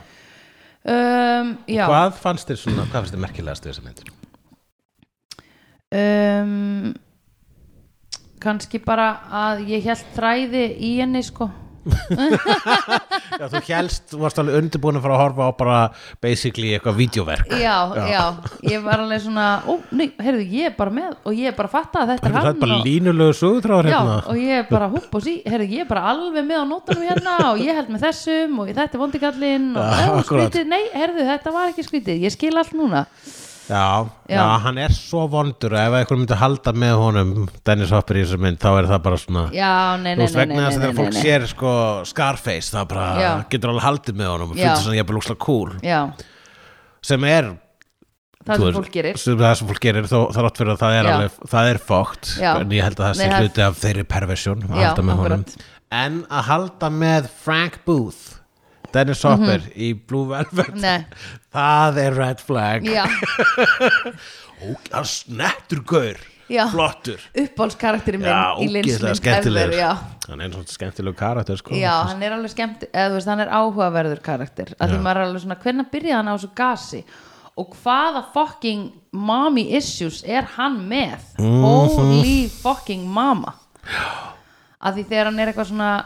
S2: um, Já
S1: Hvað fannst þér svona, hvað fannst þér merkilegast við þessa myndir?
S2: um, Kanski bara að ég held þræði í henni, sko
S1: Já, þú helst, þú varst alveg undirbúin að fara að horfa á bara basically eitthvað vídeoverk
S2: Já, já, ég var alveg svona Ó, nei, heyrðu, ég er bara með og ég er bara að fatta að þetta er
S1: Það
S2: hann
S1: er bara
S2: og-
S1: línulegu sögutráður
S2: Já,
S1: hérna
S2: og ég er bara húpp og sí, herri, ég er bara alveg með á nótunum hérna og ég held með þessum og þetta er vondikallinn og
S1: Já,
S2: ja,
S1: akkurat.
S2: skrítið, nei, herðu, þetta var ekki skrítið, ég skil allt núna.
S1: Já, já.
S2: Já.
S1: hann er svo vondur að ef einhver myndi halda með honum Dennis Hopper í þessar mynd, þá er það bara svona
S2: Já, nei,
S1: Þú
S2: nei,
S1: veist
S2: nei, nei,
S1: vegna
S2: nei,
S1: þess að
S2: nei,
S1: þegar fólk
S2: nei,
S1: sér sko Scarface, það bara
S2: Já.
S1: getur alveg haldið með honum og
S2: Já.
S1: finnst þess að ég er bara lúkslega cool
S2: Já,
S1: sem er,
S2: það
S1: þú
S2: sem
S1: veist,
S2: fólk gerir.
S1: sem það sem fólk gerir þó, þrátt fyrir að það er,
S2: Já.
S1: alveg, það er fókt
S2: Já.
S1: en ég held að það sé
S2: Nei, það-
S1: hluti af þeirri perversjón að
S2: Já,
S1: halda með honum
S2: akkurat.
S1: en að halda með Frank Booth Dennis Hopper í Blue Velvet
S2: Mhm. Nei.
S1: það er red flag
S2: Já,
S1: og hann snettur gaur
S2: Já.
S1: flottur
S2: uppáhaldskarakterinn minn
S1: Já,
S2: í
S1: ógeðslega
S2: linsmynd
S1: skemmtilegur
S2: já.
S1: Hann er einn svona skemmtilegu karakter sko
S2: já, hann er alveg skemmt eða þú veist, hann er áhugaverður karakter að því
S1: Já.
S2: maður er alveg svona, hvernig byrjaði hann á þessu gasi og hvaða fucking mommy issues er hann með
S1: Mhm.
S2: holy fucking mama að því þegar hann er eitthvað svona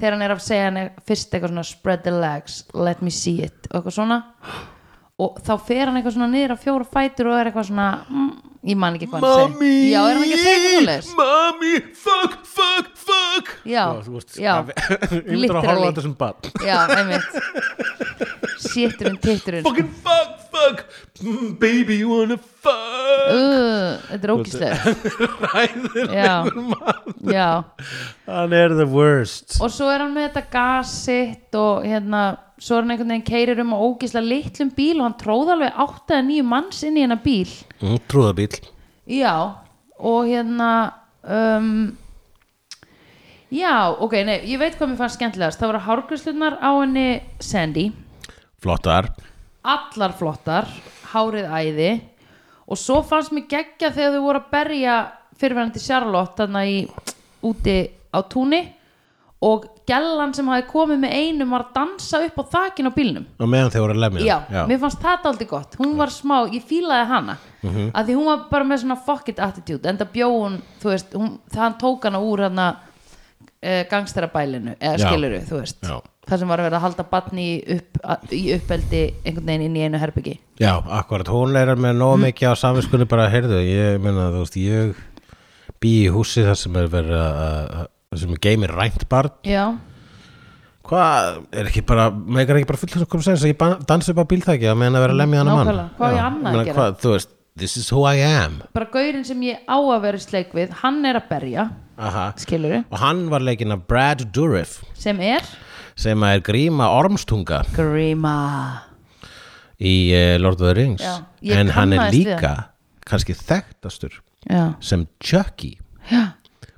S2: þegar hann er að segja hann er fyrst eitthvað svona spread the legs, let me see it og eitthvað svona og þá fer hann eitthvað svona niður á fjóra fætur og er eitthvað svona mm, ég man ekki hvað hann
S1: Mami
S2: segir já, er hann ekki að segja eitthvað svoleiðis?
S1: Mami, fuck, fuck, fuck
S2: Já,
S1: Þú veist,
S2: já.
S1: að- Ég myndir að horfa
S2: Literally.
S1: á þessum bann
S2: Já, einmitt Séturinn, titturinn
S1: Fucking fuck, fuck mm, Baby, you wanna fuck
S2: uh, Þetta er ógislega
S1: Ræður
S2: Já.
S1: mann
S2: Já.
S1: Hann er the worst
S2: Og svo er hann með þetta gasitt og hérna, svo er hann einhvern veginn keirir um á ógislega litlum bíl og hann tróð alveg 8 eða 9 manns inn í hennar bíl
S1: mm, Trúðabíl
S2: Já, og hérna um, Já, ok, nei, ég veit hvað mér fannst skemmtilegast Það voru hárgrislunar á henni Sandy
S1: Flottar
S2: allar flottar hárið æði og svo fannst mér geggja þegar þau voru að berja fyrirverandi Charlotte þarna í úti á túni og gellan sem hafi komið með einum var að dansa upp á þakin á bílnum
S1: Og meðan þeir voru að lemja
S2: já, mér fannst það aldrei gott hún var smá, ég fílaði hana mm
S1: Mhm.
S2: að því hún var bara með svona fuck it attitude enda bjó hún, þú veist hún, hann tók hana úr hana uh, gangsterabælinu, eða
S1: Já.
S2: skiluru þú veist,
S1: Já.
S2: það sem var að vera að halda batni í, upp, í uppeldi einhvern veginn inn í einu herbyggi
S1: Já, akkurat, hún er með
S2: Mm.
S1: nóg mikið á samvinskunni bara að heyrðu, ég meina þú veist, ég bý í húsi þar sem er verið að, að- þar sem er geimir rænt barn,
S2: já,
S1: hvað, er ekki bara, megar ekki bara fullt að koma sens að ég ban- dansa upp á bílþæki að meðan að vera að lemja hana mann.
S2: Nákvæmlega, hvað á ég
S1: Já,
S2: annað að
S1: meina,
S2: gera?
S1: Hvað, þú veist, this is who I am.
S2: bara gaurinn sem ég á að vera í sleik við hann er að berja,
S1: Aha.
S2: skiluru
S1: Og hann var leikinn af Brad Dourif,
S2: sem er
S1: sem að er gríma ormstunga
S2: Grima
S1: í uh, Lord of the Rings.
S2: Já, ég
S1: en hann er
S2: kannaðist við
S1: líka, kannski þekktastur,
S2: já,
S1: sem Chucky,
S2: já,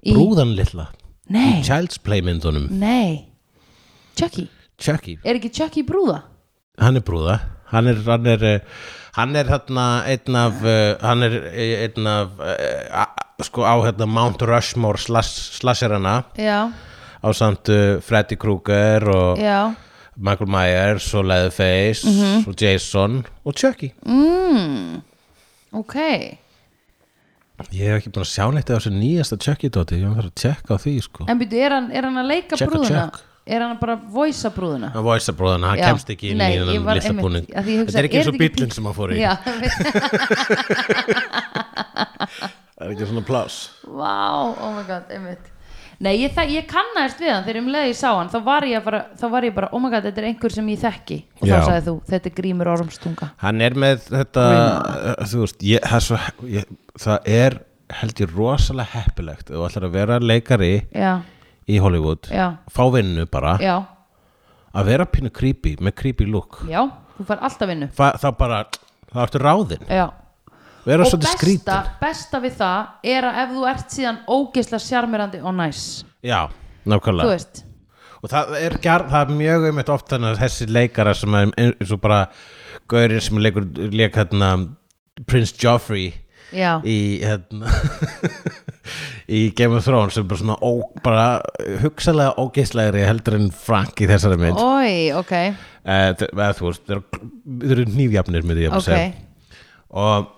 S2: í,
S1: brúðan litla.
S2: nei,
S1: Child's Play myndunum
S2: nei Chucky,
S1: Chucky,
S2: er ekki Chucky brúða?
S1: hann er brúða hann er, hann er, eh, hann er þarna einn af, eh, hann er eh, einn af eh, a- a- sko á hérna Mount Rushmore slash, slasherana
S2: já,
S1: á samt eh, Freddy Krueger og
S2: já Mhm.
S1: Michael Myers og Leatherface og Jason og Chucky
S2: Mm. ok,
S1: ég hef ekki búin að sjá neitt af þessu nýjasta Chucky dóti, ég var að tjekka á því sko
S2: en byrju, er hann, er hann að leika
S1: Chuck og
S2: brúðuna?
S1: Chuck.
S2: Er hann að bara voisa brúðuna?
S1: hann voisa bróðana, hann
S2: Já.
S1: kemst ekki inn
S2: Nei,
S1: í
S2: ég
S1: þennan
S2: var
S1: litla
S2: einmitt-
S1: búning
S2: að því ég hugsaði,
S1: þetta er ekki
S2: er
S1: eins og
S2: þetta ekki
S1: bíllinn sem hann fór í
S2: Já,
S1: það er ekki svona pláss
S2: vá, oh my god, einmitt Nei, ég, þa- ég kannaðist við hann þegar um leið ég sá hann þá var ég bara, þá var ég bara oh my god, þetta er einhver sem ég þekki og
S1: Já.
S2: þá sagði þú, þetta er Grímur Ormstunga
S1: hann er með þetta eh, þú veist, ég, það, er svo, ég, það er held ég rosalega heppilegt ef þú ætlar að vera leikari
S2: Já,
S1: í Hollywood
S2: já,
S1: fá vinnu bara,
S2: já,
S1: að vera pínu creepy með creepy look,
S2: já þú fær alltaf vinnu
S1: Fa, þá bara þá ertu ráðin,
S2: Já,
S1: vera
S2: og
S1: svolítið
S2: besta,
S1: skrítin
S2: besta við það er að ef þú ert síðan ógeisla sjarmirandi og næs
S1: já,
S2: Þú
S1: nákvæmlega
S2: veist,
S1: og það er, gar, það er mjög einmitt oft þannig að þessi leikara sem er eins og bara gaurinn sem leikur leik hérna Prince Joffrey
S2: já
S1: í hérna í Game of Thrones sem bara svona ó, bara hugsalega ógeislegri heldur en Frank í þessari mynd oh.
S2: Ói, ok,
S1: eða þú veist, þeir eru- þeir eru nýfjafnir myndi ég að
S2: ok
S1: segja og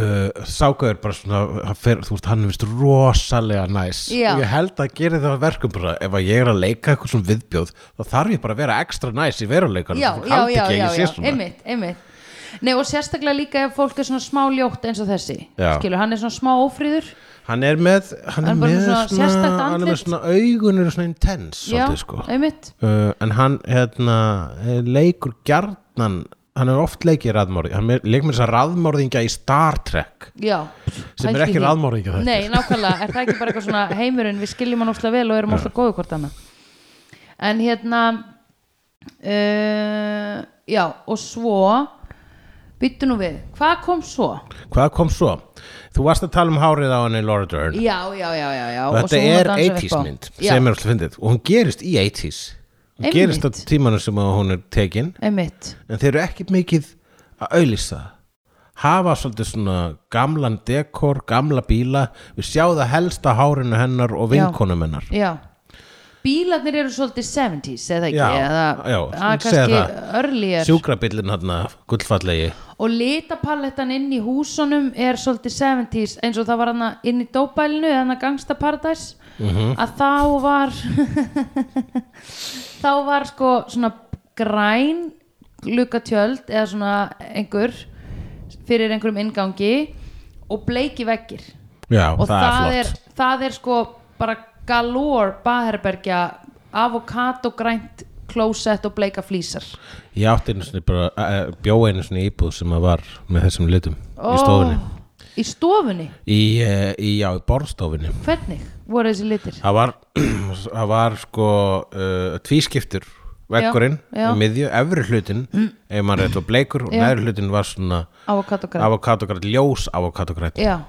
S1: uh, sákaður bara svona hann fer, þú veist, hann er vist rosalega næs
S2: Já.
S1: og ég held að gera það að verkum bara ef að ég er að leika eitthvað svona viðbjóð þá þarf ég bara að vera ekstra næs í veruleikanum
S2: já,
S1: Fólk
S2: já,
S1: haldi
S2: já,
S1: ekki að
S2: já,
S1: ég sé
S2: já,
S1: svona.
S2: einmitt, einmitt Nei, og sérstaklega líka ef fólk er svona smá ljótt eins og þessi
S1: Já.
S2: skilur, hann er svona smá ófríður
S1: hann er með hann er
S2: Hann er bara
S1: með
S2: með svona
S1: svona,
S2: sérstakt
S1: hann er með
S2: andlit.
S1: svona augunir og svona intense svolítið, sko.
S2: einmitt
S1: uh, en hann hérna, eh, leikur gjarnan hann er oft leikið raðmörði hann er- leikur með þess að raðmörðingja í Star Trek
S2: Já,
S1: Sem er
S2: pældu í
S1: ekki
S2: því.
S1: raðmorðingja þættir.
S2: Nei, nákvæmlega, er það ekki bara eitthvað svona heimurinn við skiljum hann óslega vel og erum óslega góðu hvort annað En hérna uh, Já, og svo Býttu nú við, hvað kom svo?
S1: hvað kom svo? þú varst að tala um hárið á henni Laura Dern
S2: Já, já, já, já, já
S1: og
S2: og svo
S1: þetta
S2: hún að
S1: er
S2: dansa upp á.
S1: 80s mynd
S2: Já,
S1: sem er alltaf fyndið og hún gerist í 80s hún
S2: Einmitt.
S1: gerist á tímanum sem að hún er tekin
S2: einmitt
S1: en þeir eru ekki mikið að auðlýsa hafa svolítið svona gamlan dekor, gamla bíla við sjá það helst á hárinu hennar og
S2: Já.
S1: vinkonum hennar
S2: já bílarnir eru svolítið 70s eða ekki
S1: Já,
S2: eða,
S1: já,
S2: að
S1: segja
S2: kannski
S1: það.
S2: earlier
S1: sjúkrabillin hann gullfallegi
S2: og litapalettan inn í húsunum er svolítið 70s eins og það var hann inn í dópælinu eða hann að Gangsta Paradise
S1: Mhm.
S2: að þá var þá var sko svona græn glukatjöld eða svona einhver fyrir einhverjum inngangi og bleiki veggir
S1: já,
S2: og
S1: það, er
S2: er,
S1: flott
S2: það er sko bara galore baherbergja avokado grænt klósett og bleika flísar
S1: ég átti einu sinni bara, uh, bjó einu sinni í íbúð sem að var með þessum litum
S2: Ó,
S1: í stofunni
S2: í stofunni?
S1: í, uh, í, já, í borðstofunni
S2: Hvernig voru þessi litir?
S1: það var, það var sko uh, tvískiptur veggurinn,
S2: Já, já.
S1: miðju, efri hlutin ef maður rétt var bleikur og
S2: Já.
S1: neðri hlutin var svona
S2: Avokado grænt
S1: avokadogrætt, ljós avokadogrætt
S2: Já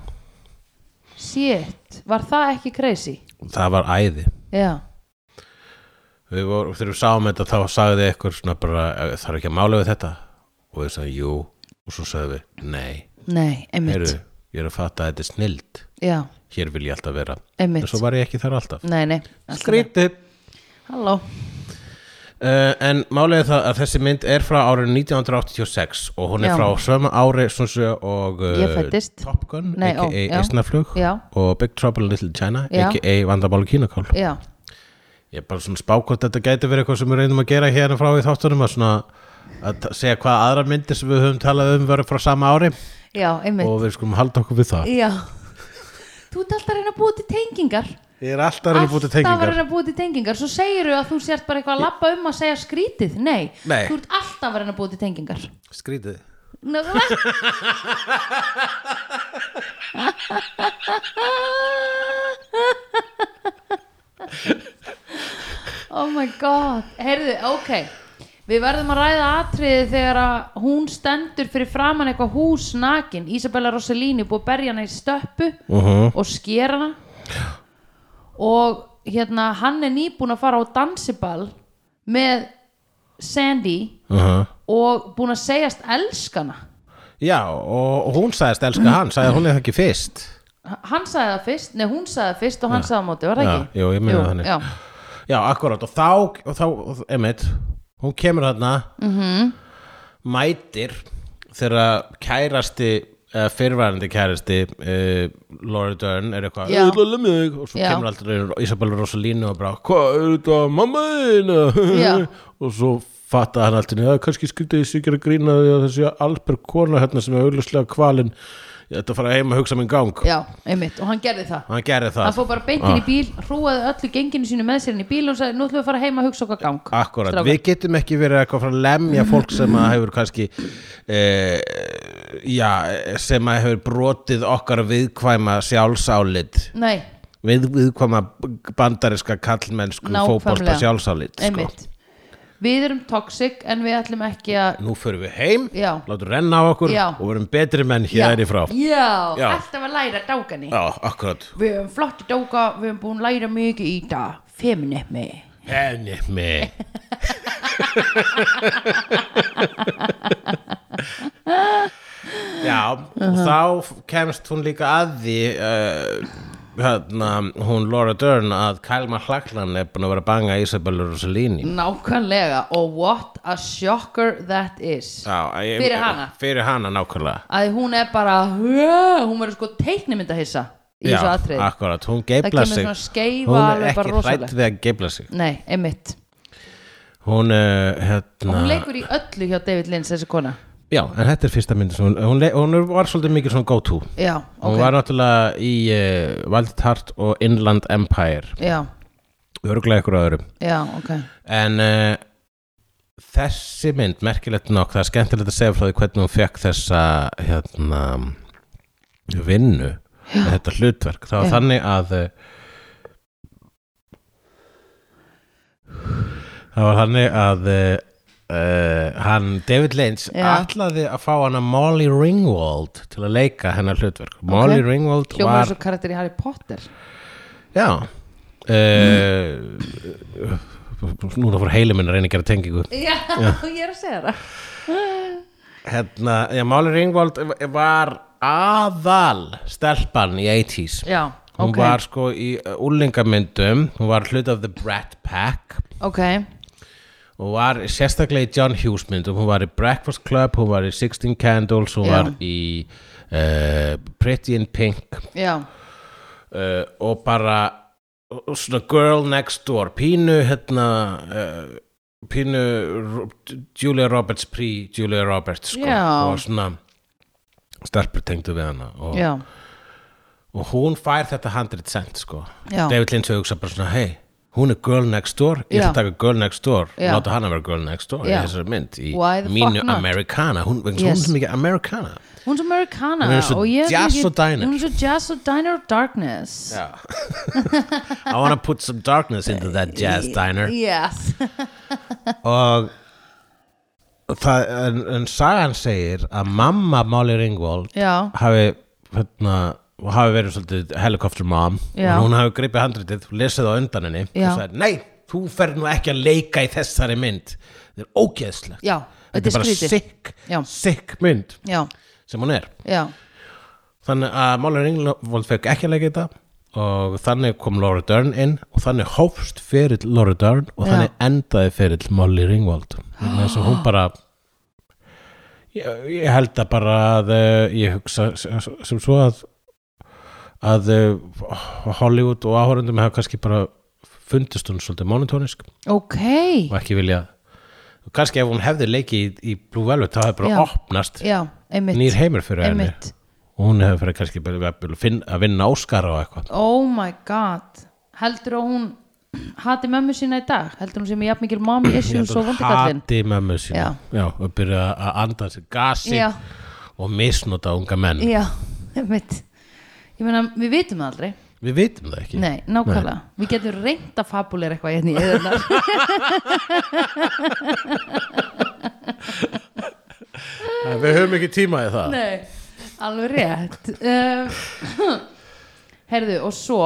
S2: Shit, var það ekki crazy?
S1: það var æði
S2: Já,
S1: við vorum, þegar við sáum þetta þá sagði eitthvað svona bara, þarf ekki að mála við þetta og við sagði jú og svo sagði við, nei,
S2: nei, einmitt
S1: heyrðu ég er að fatta að þetta er snild
S2: Já,
S1: hér vil ég alltaf vera,
S2: Einmitt.
S1: en svo var ég ekki þar alltaf
S2: nei, nei allt í lagi.
S1: skrítið
S2: Halló
S1: Uh, en málið er það að þessi mynd er frá árið 1986 og hún er
S2: Já.
S1: frá sömu ári Sunsu og eh,
S2: Ég fæddist.
S1: Top Gun,
S2: Nei, ó,
S1: a.k.a.
S2: já.
S1: Eisnaflug
S2: Já.
S1: og Big Trouble in Little China,
S2: Já.
S1: a.k.a. Vandabálu Kínakál
S2: Já,
S1: Ég er bara svona spá hvort þetta gæti verið eitthvað sem við reynum að gera hérna frá í þáttunum að svona að ta- segja hvað aðra myndir sem við höfum talað um verið frá sama ári
S2: já, einmitt
S1: og við skulum halda okkur við það
S2: Já Þú ert alltaf að reyna að búa til tengingar
S1: Ég er alltaf að reyna búið til tengingar
S2: Alltaf að reyna að búa til tengingar Svo segiru að þú sért bara eitthvað að labba um að segja skrítið Nei,
S1: Nei.
S2: þú ert alltaf að reyna að búa til tengingar
S1: Skrítið
S2: Nákvæmlega Oh my god Heyrðu, ok Við verðum að ræða atriði þegar að hún stendur fyrir framan eitthvað hús nakin Isabella Rossellini er búið að berja hana í stöppu
S1: Mhm,
S2: og skera hana og hérna hann er nýbúin að fara á dansiball með Sandy
S1: uh
S2: og búin að segjast elskana
S1: Já, og og hún sagðist elska hann, sagði hún er það ekki fyrst
S2: hann sagði það fyrst, nei hún sagði það fyrst og hann sagði það á móti, var það
S1: Já,
S2: ekki?
S1: jú, ég meina það þannig.
S2: já.
S1: Já, akkurát og þá, og þá og- einmitt, hún kemur þarna -hmm. mætir þegar kærasti eða fyrrvarandi kærasti uh, Laura Dern er eitthvað
S2: Já.
S1: "Ég ætla að lemja þig." og svo
S2: Já.
S1: kemur alltaf Isabella Rosalínu og bara hvað er þetta mamma þín
S2: Já.
S1: og svo fatta hann alltaf það er kannski skrítið þessi ekki að grína því að þessi alberg kona hérna sem er auðvitað kvalin ég ætla að fara heim að hugsa minn gang
S2: já, einmitt, og hann gerði það
S1: hann Ah. gerði það
S2: hann fór bara beint inn í bíl, hrúaði öllu genginu sínu með sér inn í bíl og sagði, nú ætlum við að fara heim að hugsa okkar gang
S1: Akkurat,
S2: Strákar.
S1: við getum ekki verið eitthvað frá að lemja fólk sem að hefur kannski e, já, sem að hefur brotið okkar viðkvæma sjálfsálit
S2: nei,
S1: við, viðkvæma bandariska kallmennsku
S2: Nákvæmlega.
S1: fótbolta sjálfsálit sko.
S2: einmitt við erum toxic en við ætlum ekki að
S1: Nú förum við heim,
S2: Já.
S1: látum renna á okkur
S2: Já.
S1: og verum betri menn hér frá
S2: já,
S1: Já.
S2: alltaf að læra dákani
S1: Já, akkurat
S2: við höfum flott dóka, við höfum búin að læra mikið í dag feminismi
S1: Henni mig Já, og þá kemst hún líka að því uh, hérna, hún Laura Dern að Kalma Hlaklan er búin að vera að banga Isabella
S2: Mm.
S1: Rossellini
S2: nákvæmlega, og what a shocker that is
S1: Já, ég,
S2: Fyrir hana.
S1: Fyrir hana nákvæmlega
S2: að hún er bara "Hö", hún verður sko teiknimynd að hissa í þessu atrið
S1: akkurat, hún
S2: það
S1: geifla
S2: kemur
S1: sig
S2: svona skeifa
S1: ah, Hún er
S2: alveg
S1: ekki
S2: bara
S1: hrætt
S2: rosaleg
S1: við að geifla sig
S2: nei, einmitt
S1: Hún, uh,
S2: og
S1: hérna
S2: hún leikur í öllu hjá David Lynch þessi kona
S1: Já, en þetta er fyrsta myndi hún, hún, le- hún var svolítið mikið svona go-to
S2: já,
S1: Hún
S2: ok
S1: var náttúrulega í uh, Wild Heart og Inland Empire
S2: já,
S1: örgulega ykkur á öðrum
S2: já, ok
S1: en uh, þessi mynd, merkilegt nokk það er skemmtilegt að segja frá því hvernig hún fekk þessa hérna vinnu, þetta hlutverk það var
S2: Já.
S1: þannig að uh, það var þannig að uh, Uh, hann David Lynch
S2: Já.
S1: ætlaði að fá hana Molly Ringwald til að leika hennar hlutverk Molly Ringwald
S2: hljómar
S1: var
S2: þessu karakter í Harry Potter
S1: Já uh, Núna fór heili minn að reyna að gera tengingu
S2: já, ég er að segja það
S1: hérna, já, Máli Ringvold var aðal stelpan í 80s
S2: Já,
S1: hún
S2: ok.
S1: var sko í úlingamyndum hún var hlut af The Brat Pack
S2: ok,
S1: hún var sérstaklega í John Hughes myndum hún var í Breakfast Club, hún var í 16 Candles hún
S2: Já.
S1: var í uh, Pretty in Pink
S2: já,
S1: uh, og bara og svona girl next door pínu hérna uh, pínu Ro- Julia Roberts pre Julia Roberts sko,
S2: Já.
S1: og svona stelpur tengdu við hana og,
S2: já,
S1: og hún fær þetta 100 cent sko.
S2: Já.
S1: David Lynch hugsa bara svona hei, hún er girl next door ég ætla
S2: Já.
S1: að taka girl next door
S2: Já.
S1: láta hana vera girl next door
S2: Já.
S1: í þessari mynd í
S2: Why the
S1: mínu
S2: fuck not?
S1: Americana hún, yes. hún er
S2: Yes.
S1: svo mikið Americana
S2: hún er svo Americana
S1: Hún er svo
S2: og ég er
S1: jazz
S2: ekki-
S1: og diner.
S2: Hún er svo jazz og diner of darkness
S1: yeah. I wanna put some darkness into that jazz diner
S2: Yes
S1: og það, en, en sagan segir að mamma Molly Ringwald
S2: Já,
S1: hafi, hérna, hafi verið svolítið helicopter mom
S2: Já.
S1: og hún hafi gripið handritið, lesið á undan henni
S2: Já.
S1: og sagði, nei, þú ferð nú ekki að leika í þessari mynd þetta er ógeðslegt
S2: já, þetta er
S1: bara
S2: skrítið
S1: sick,
S2: Já.
S1: sick mynd
S2: Já,
S1: sem hún er
S2: já,
S1: þannig að Molly Ringwald fekk ekki að leika í þetta og þannig kom Laura Dern inn og þannig hófst ferill Laura Dern og
S2: Já. Ah.
S1: þannig endaði ferill Molly Ringwald vegna þess að hún bara ég, ég held að bara að eh, ég hugsa s- sem svo að að eh, Hollywood og áhörundum hafa kannski bara fundist hún svolítið monotónisk
S2: ok
S1: og ekki vilja kannski ef hún hefði leiki í, í Blue Velvet þá hefði bara
S2: Já.
S1: opnast
S2: Já, einmitt,
S1: nýr heimur fyrir henni
S2: einmitt
S1: og hún hefur fyrir kannski bara jafnvel að finna- að vinna Óskara og eitthvað
S2: Oh my god Heldur að hún hati mömmu sína í dag? Heldur hún sem ég jafn mikil mommy issues og vondikallin?
S1: hati mömmu sína
S2: Já.
S1: Já, og byrja að anda sér gasi
S2: Já.
S1: og misnota unga menn
S2: Já, einmitt Ég meina, við vitum það aldrei
S1: við vitum það ekki
S2: Nei, nákvæmlega Við getum reynd að fabulera eitthvað hérna í eðurnar
S1: við höfum ekki tíma í það
S2: Nei, alveg rétt um, Heyrðu, og svo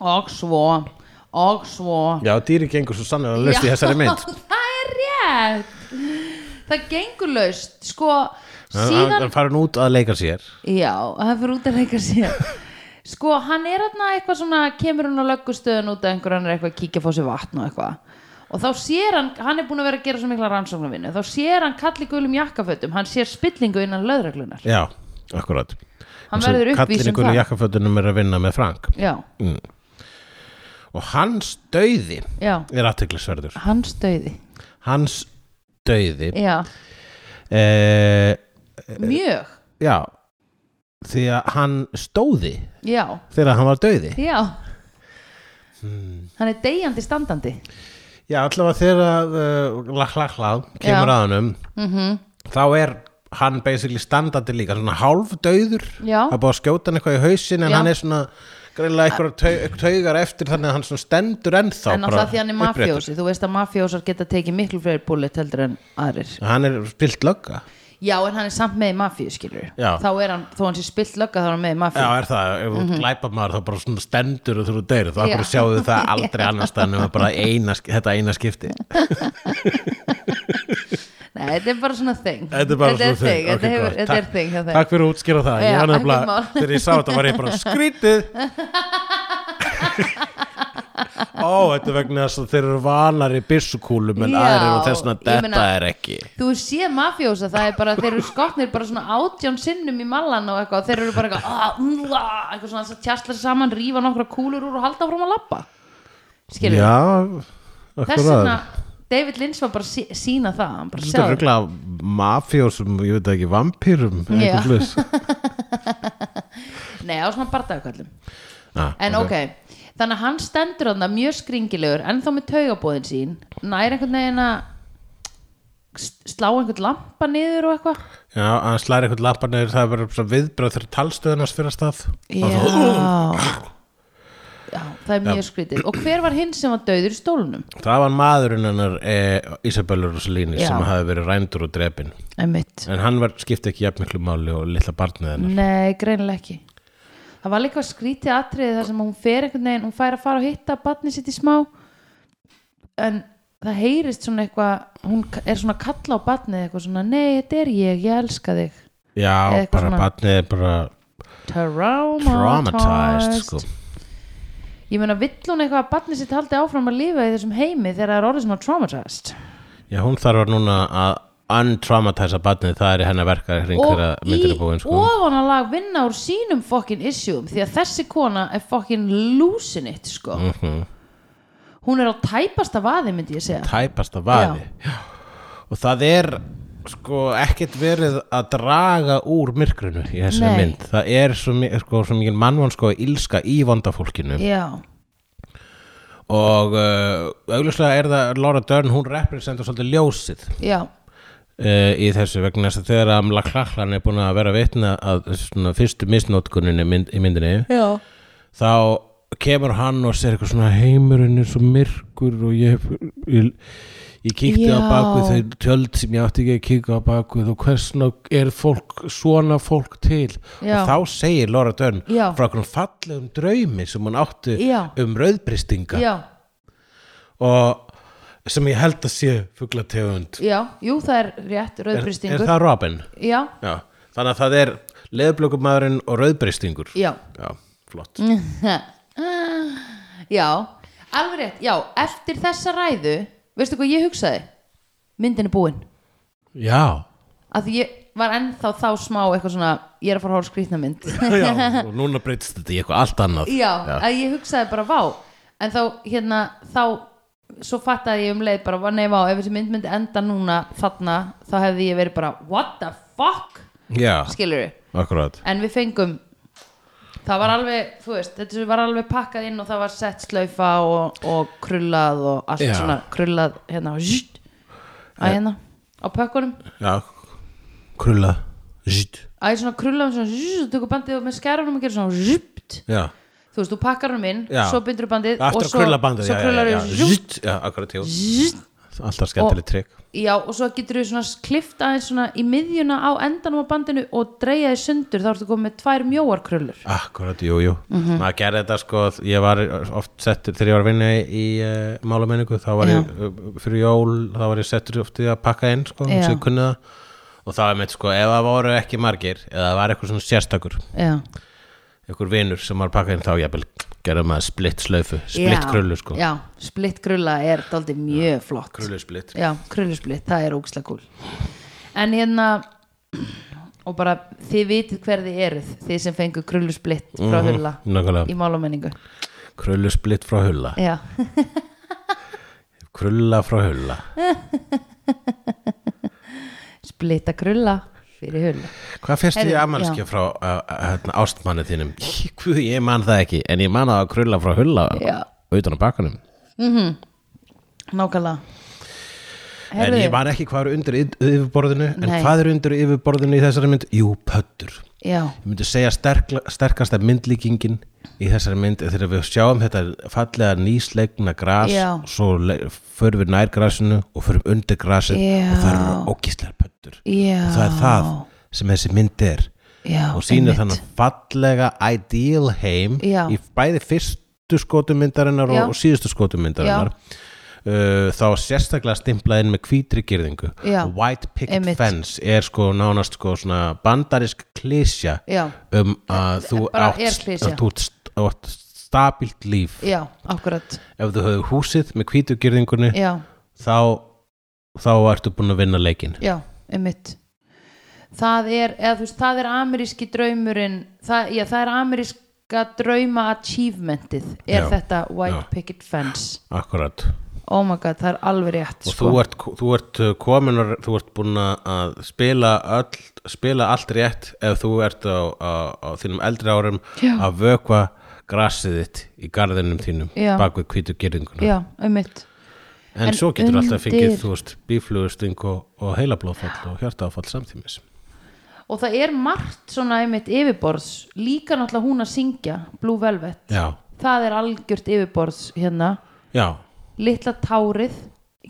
S2: og svo og svo
S1: Já, dýri gengur svo sannlega löst í þessari mynd
S2: Það er rétt Það gengur laust Sko,
S1: Síðan...
S2: síðan
S1: Hann farin út að leika sér
S2: Já, það fyrir út að leika sér Sko, hann er þarna eitthvað svona kemur hann á löggustöðun út að einhver hann er eitthvað að kíkja að fá sér vatn og eitthvað og þá sér hann, hann er búin að vera að gera svo mikla rannsóknarvinnu, þá sér hann kalli gulum jakkafötum, hann sér spillingu innan löðreglunar
S1: Já, akkurat
S2: Hann verður uppvís um
S1: Kallinningur í
S2: það.
S1: jakkafötunum er að vinna með Frank
S2: Já,
S1: og hans döiði
S2: já,
S1: er aðteglisverður
S2: hans döiði
S1: hans döiði
S2: Já,
S1: eh,
S2: mjög
S1: Já því að hann stóði
S2: Já,
S1: þegar hann var döiði
S2: já
S1: Hmm.
S2: Hann er deyjandi standandi
S1: Já, allavega þegar að, uh, laklaklað kemur
S2: Já. Mhm.
S1: að hannum þá er hann basically standandi líka svona hálf döður
S2: Já.
S1: það er búið að skjóta hann eitthvað í hausin en
S2: Já.
S1: hann er svona greinlega eitthvað tau, taugar eftir þannig að hann svona stendur ennþá
S2: En
S1: bara
S2: alltaf því hann er
S1: uppréttur.
S2: mafjósi, þú veist að mafjósar geta tekið miklu fleiri bullet heldur en aðrir
S1: Hann er spilt lögga
S2: Já, en hann er samt með í mafíu, skilur
S1: Já.
S2: Þá er hann, þó hann sé spilt lögga þá er hann með í mafíu
S1: Já, er það, ef þú glæpa maður þá bara svona stendur og þú eru deyr þá
S2: Mhm. Já.
S1: bara sjáðu það aldrei annars þannig að bara eina, sk- þetta eina skipti
S2: Nei, þetta er bara svona þing
S1: Þetta er bara svona
S2: þing,
S1: Ok,
S2: þetta, hefur-
S1: gott.
S2: þetta er
S1: Takk-
S2: þing hjá þeim.
S1: Takk fyrir að útskýra það Ég
S2: Já,
S1: var nefnilega-
S2: ekkert mál.
S1: Þegar ég sá þetta var ég bara skrítið Ó, þetta er vegna þess að þeir eru vanar í byssukúlum en
S2: Já,
S1: aðrir og þessna
S2: ég
S1: þetta
S2: meina-
S1: er ekki
S2: Þú sé mafjósa, það er bara, þeir eru skotnir bara svona átján sinnum í mallan og eitthvað og þeir eru bara eitthvað, ah, mm, ah, eitthvað svona að tjastla sér saman, rífa nokkra kúlur úr og halda áfram að labba Skilur
S1: Já,
S2: Þess
S1: akkur að
S2: vegna David Lynch var bara sí, sína það hann bara
S1: Þetta er
S2: sjá
S1: rugla mafjósum, ég veit ekki, vampýrum
S2: Já.
S1: Já,
S2: Nei, á svona bardaðkallum
S1: ah,
S2: En ok, þannig að hann stendur hann mjög skringilegur, ennþá með taugabóðin sín nær einhvern veginn að s- slá einhvern lampa niður og eitthvað
S1: Já, hann slæri eitthvað lappa neður það er bara svona viðbröð þegar talstöðunars fyrir að stað Og svo-
S2: Já Já, það er mjög skrítið Og hver var hinn sem var döður í stólunum?
S1: Það var maðurinn hennar e, Isabella Rossellini
S2: Já.
S1: sem hafi verið rændur og drepin
S2: Einmitt
S1: En hann var, skipti ekki jafn miklu máli og litla barnið hennar.
S2: Nei, greinilega ekki Það var líka skrítið atriði þar sem hún fer einhvern veginn, hún fær að fara og hitta batni sitt í smá en það heyrist svona eitthvað hún k- er svona að kalla á batnið eitthvað svona nei, þetta er ég, ég elska þig
S1: Já,
S2: Mm. Eitthvað
S1: bara
S2: svona.
S1: barnið er bara
S2: traumatized,
S1: traumatized sko.
S2: ég meina, vill hún eitthvað að batnið sitt haldi áfram að lifa í þessum heimi þegar það er orðið svona traumatized
S1: Já, hún þarf að núna að untraumatisa barnið, það er í hennar verkar hring þegar myndir er búin sko.
S2: ofanalag vinna úr sínum fokkin issueum því að þessi kona er fokkin losing it sko
S1: Mm. Mhm.
S2: hún er á tæpasta vaði myndi ég segja
S1: tæpasta vafi Já. og það er sko ekkert verið að draga úr myrkrinu í þessari
S2: Nei.
S1: mynd það er svo, mi- sko, svo mikil mannvann sko ílska í vondafólkinu
S2: já,
S1: og uh, augljóslega er það Laura Dern, hún representar svolítið ljósið
S2: já,
S1: uh, í þessu vegna þess að þegar Amla Klaklan er búin að vera vitna að svona fyrstu misnótkuninni mynd, í myndinni
S2: já.
S1: þá kemur hann og sér eitthvað svona heimurinn er svo myrkur og ég, hef- ég, ég kíkti
S2: Já.
S1: á bakvið þau tjöld sem ég átti ekki að kíka á bakvið og hversna er fólk, svona fólk til
S2: Já.
S1: og þá segir Laura Dönn
S2: Já.
S1: frá okkur fallegum draumi sem hann átti
S2: Já.
S1: um rauðbristinga
S2: já,
S1: og sem ég held að sé fuglategund
S2: já, jú það er rétt
S1: er, er
S2: rauðbristingur
S1: það Robin?
S2: já,
S1: Já. þannig að það er leðblökumæðurinn og rauðbristingur
S2: já Mm.
S1: Já, flott
S2: já, alveg rétt já, eftir þessa ræðu veistu hvað ég hugsaði myndin er búin
S1: Já,
S2: að því ég var ennþá þá smá eitthvað svona, ég er að fara að hóra skrýtna mynd
S1: já, og núna breytist þetta í eitthvað allt annað
S2: já, að ég hugsaði bara vá en þá hérna þá svo fattaði ég um leið bara "Vá, nei vá, ef þessi mynd myndi enda núna þarna þá hefði ég verið bara what the fuck
S1: Já,
S2: skilur
S1: akkurat
S2: en við fengum það var alveg, þú veist, þetta var alveg pakkað inn og það var sett slaufa og, og krullað og allt
S1: Já.
S2: svona krullað hérna, zzt, að hérna á pökkunum
S1: Já, krulla Zít.
S2: að ég svona krullað svona, zzt, þú tökur bandið og með skærunum og gerir svona zzt,
S1: Já,
S2: þú veist, þú pakkar hann inn
S1: Já.
S2: svo bindur bandið
S1: aftur
S2: og
S1: að
S2: svo,
S1: krulla bandið
S2: svo
S1: já, já,
S2: krullar
S1: já,
S2: þú
S1: já, Zít, já, akkurat, jú Alltaf skemmtileg trikk
S2: Já, og svo getur við svona klift aðeins svona í miðjuna á endanum á bandinu og dreigja þið sundur, þá ertu komið með tvær mjóar krullur.
S1: Akkurat, jú, jú
S2: Mhm.
S1: Maður gerði þetta sko, ég var oft settur þegar ég var að vinna í, í uh, málamenningu þá var ég, uh, fyrir jól þá var ég settur oft í að pakka inn sko,
S2: Já.
S1: sem ég kunni það og það er meitt sko, ef það voru ekki margir eða það var eitthvað svona sérstakur
S2: Já,
S1: einhver vinur sem var að pakka inn þá jafnvel gerði maður splitt slöfu splitt krullu sko,
S2: Já, splitt krulla er daldið mjög flott.
S1: krullu splitt
S2: Já, krullusplitt, það er ógislega kúl. En hérna, og bara þið vitið hver þið eruð, þið sem fengu krullusplitt frá
S1: Mhm.
S2: hulla
S1: Nákvæmlega.
S2: í málamenningu.
S1: Krullu splitt frá hulla
S2: Já,
S1: Krulla frá hulla
S2: splitta krulla fyrir hulla.
S1: Hvað fyrst
S2: Heyrðu,
S1: ég amalskja frá uh, uh, hérna, ástmanni þínum? Í, Guð, ég man það ekki En ég man það að krulla frá hulla
S2: Já.
S1: Utan á bakkanum
S2: Nákvæmlega.
S1: En
S2: Heyrðu,
S1: ég man ekki hvað er undir yð- yfirborðinu En
S2: Nei.
S1: hvað er undir yfirborðinu í þessari mynd? Jú, pöttur
S2: Já,
S1: Ég myndi segja sterkla, sterkasta myndlíkingin í þessari mynd er þegar við sjáum þetta fallega nýslegna gras
S2: Já.
S1: svo le- förum við nær grasinu og förum undir grasið
S2: Já.
S1: og það eru ókistlegar pöttur
S2: Já.
S1: og það er það sem þessi mynd er
S2: já.
S1: og sýnir
S2: einmitt.
S1: þannig fallega ideal heim
S2: Já.
S1: í bæði fyrstu skotumyndarinnar
S2: Já.
S1: og, og síðustu skotumyndarinnar uh, þá sérstaklega stimplað inn með hvítri girðingu
S2: Já.
S1: white picket
S2: Einmitt.
S1: fence er sko nánast sko svona bandarisk klísja
S2: Já.
S1: um að þú
S2: bara er
S1: átt,
S2: klisja.
S1: að þú átt st- átt stabilt líf
S2: Já, akkurat.
S1: ef þú höfðu húsið með hvítu girðingunni
S2: Já,
S1: þá, þá ertu búin að vinna leikin
S2: já, einmitt það er, eða þú veist, það er ameríski draumurinn, það, já, það er ameríska drauma achievementið er
S1: Já,
S2: þetta white
S1: já.
S2: picket fence
S1: akkurat
S2: oh my god, það er alveg rétt
S1: og
S2: sko.
S1: þú ert, þú ert uh, komin og þú ert búin að spila, öll, spila allt rétt ef þú ert á, á, á þínum eldri árum
S2: Já.
S1: að vökva grasið þitt í garðinum þínum
S2: Já.
S1: bak við hvítu girðinguna
S2: já, einmitt
S1: en,
S2: En
S1: svo getur alltaf fengið
S2: undir-
S1: þú veist bíflugusting og, og heilablóðfall og hjartaáfall samtímis
S2: og það er margt svona einmitt yfirborðs líka náttúrulega hún að syngja Blue Velvet,
S1: já,
S2: það er algjört yfirborðs hérna,
S1: já
S2: litla tárið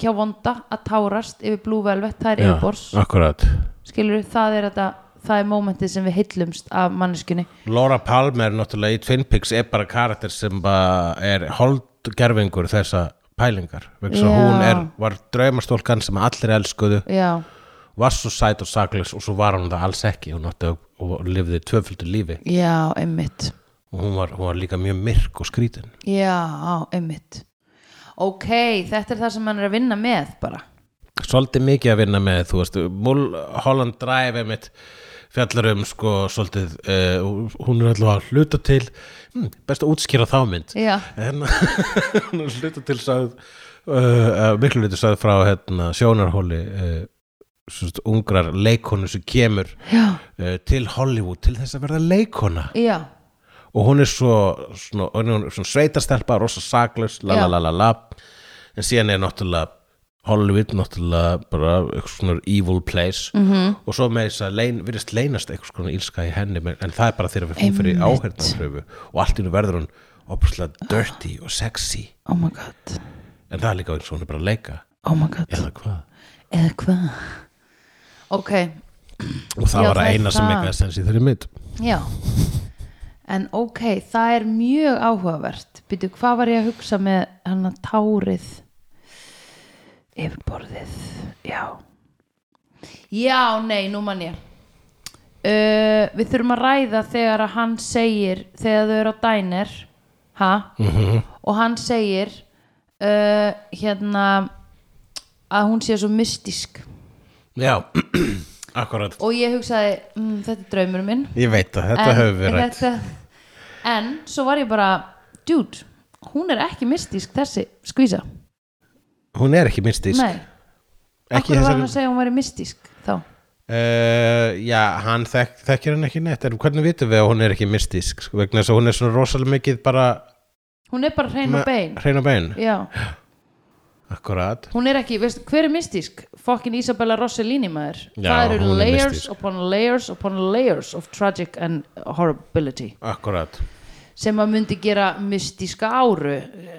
S2: hjá vonda að tárast yfir Blue Velvet, það er yfirborðs
S1: akkurat
S2: skilur, það er þetta það er mómentið sem við heillumst af manneskunni
S1: Laura Palmer náttúrulega í Twin Peaks er bara karakter sem bara er holdgerfingur þessa pælingar vegna þess að
S2: Já.
S1: hún er, var draumastólkan sem allir elskuðu
S2: já,
S1: var svo sæt og saklis og svo var hún það alls ekki hún átti og, og lifði tvöföldu lífi
S2: já, einmitt
S1: og hún var, hún var líka mjög myrk og skrítin
S2: já, einmitt ok, þetta er það sem hann er að vinna með bara,
S1: svolítið mikið að vinna með þú veist, Mulholland Drive einmitt fjallar um sko svolítið, uh, hún er alltaf að hluta til hm, best að útskýra þá mynd
S2: já,
S1: en hún er hluta til sagð, uh, uh, miklu hluti sagði frá hérna, sjónarhóli uh, svona ungrar leikonu sem kemur
S2: já
S1: uh, til Hollywood til þess að verða leikona
S2: já,
S1: og hún er svo, svona, og hún er svona sveitastelpa, rosa saklaus, la la
S2: Já.
S1: la la la en síðan er náttúrulega Hollywood náttúrulega bara eitthvað svona evil place -hmm.
S2: Mhm.
S1: og svo með þess að lein, virðist leynast eitthvað svona ílska í henni men- en það er bara þegar við hún fyrir
S2: Einmitt.
S1: áhernarfröfu og allt í hennu verður hún opuslega dirty og sexy
S2: oh my god
S1: en það er líka eins og hún er bara að leika
S2: oh my god,
S1: eða hvað
S2: eða hvað ok,
S1: og það
S2: Já,
S1: var
S2: það
S1: að
S2: er
S1: eina sem
S2: það.
S1: eitthvað sens í þeirri mynd
S2: já en ok, það er mjög áhugavert býtu, hvað var ég að hugsa með hann að tárið yfirborðið já já, nei, nú man ég uh, við þurfum að ræða þegar að hann segir þegar þau eru á dænir ha? -hmm. og hann segir uh, hérna að hún sé svo mystísk
S1: já, akkurat
S2: og ég hugsaði, mm, þetta er draumur minn
S1: ég veit að þetta
S2: En
S1: höfum við rætt
S2: þetta, en svo var ég bara dude, hún er ekki mystísk þessi skvísa
S1: hún er ekki mystísk
S2: nei,
S1: ekki
S2: akkur var hann
S1: þessari
S2: að segja að hún væri mystísk þá
S1: Uh, já, hann þek þekkir hann ekki neitt en hvernig vitum við að hún er ekki mystísk sko, vegna þess að hún er svona rosalega mikið bara
S2: hún er bara hrein og bein
S1: hrein og bein
S2: já,
S1: akkurat
S2: hún er ekki, veist, hver er mystísk fokkin Isabella Rossellini maður
S1: Já,
S2: það eru
S1: hún er
S2: layers
S1: mystísk.
S2: upon layers upon layers of tragic and horribility
S1: akkurat
S2: sem að myndi gera mystíska áru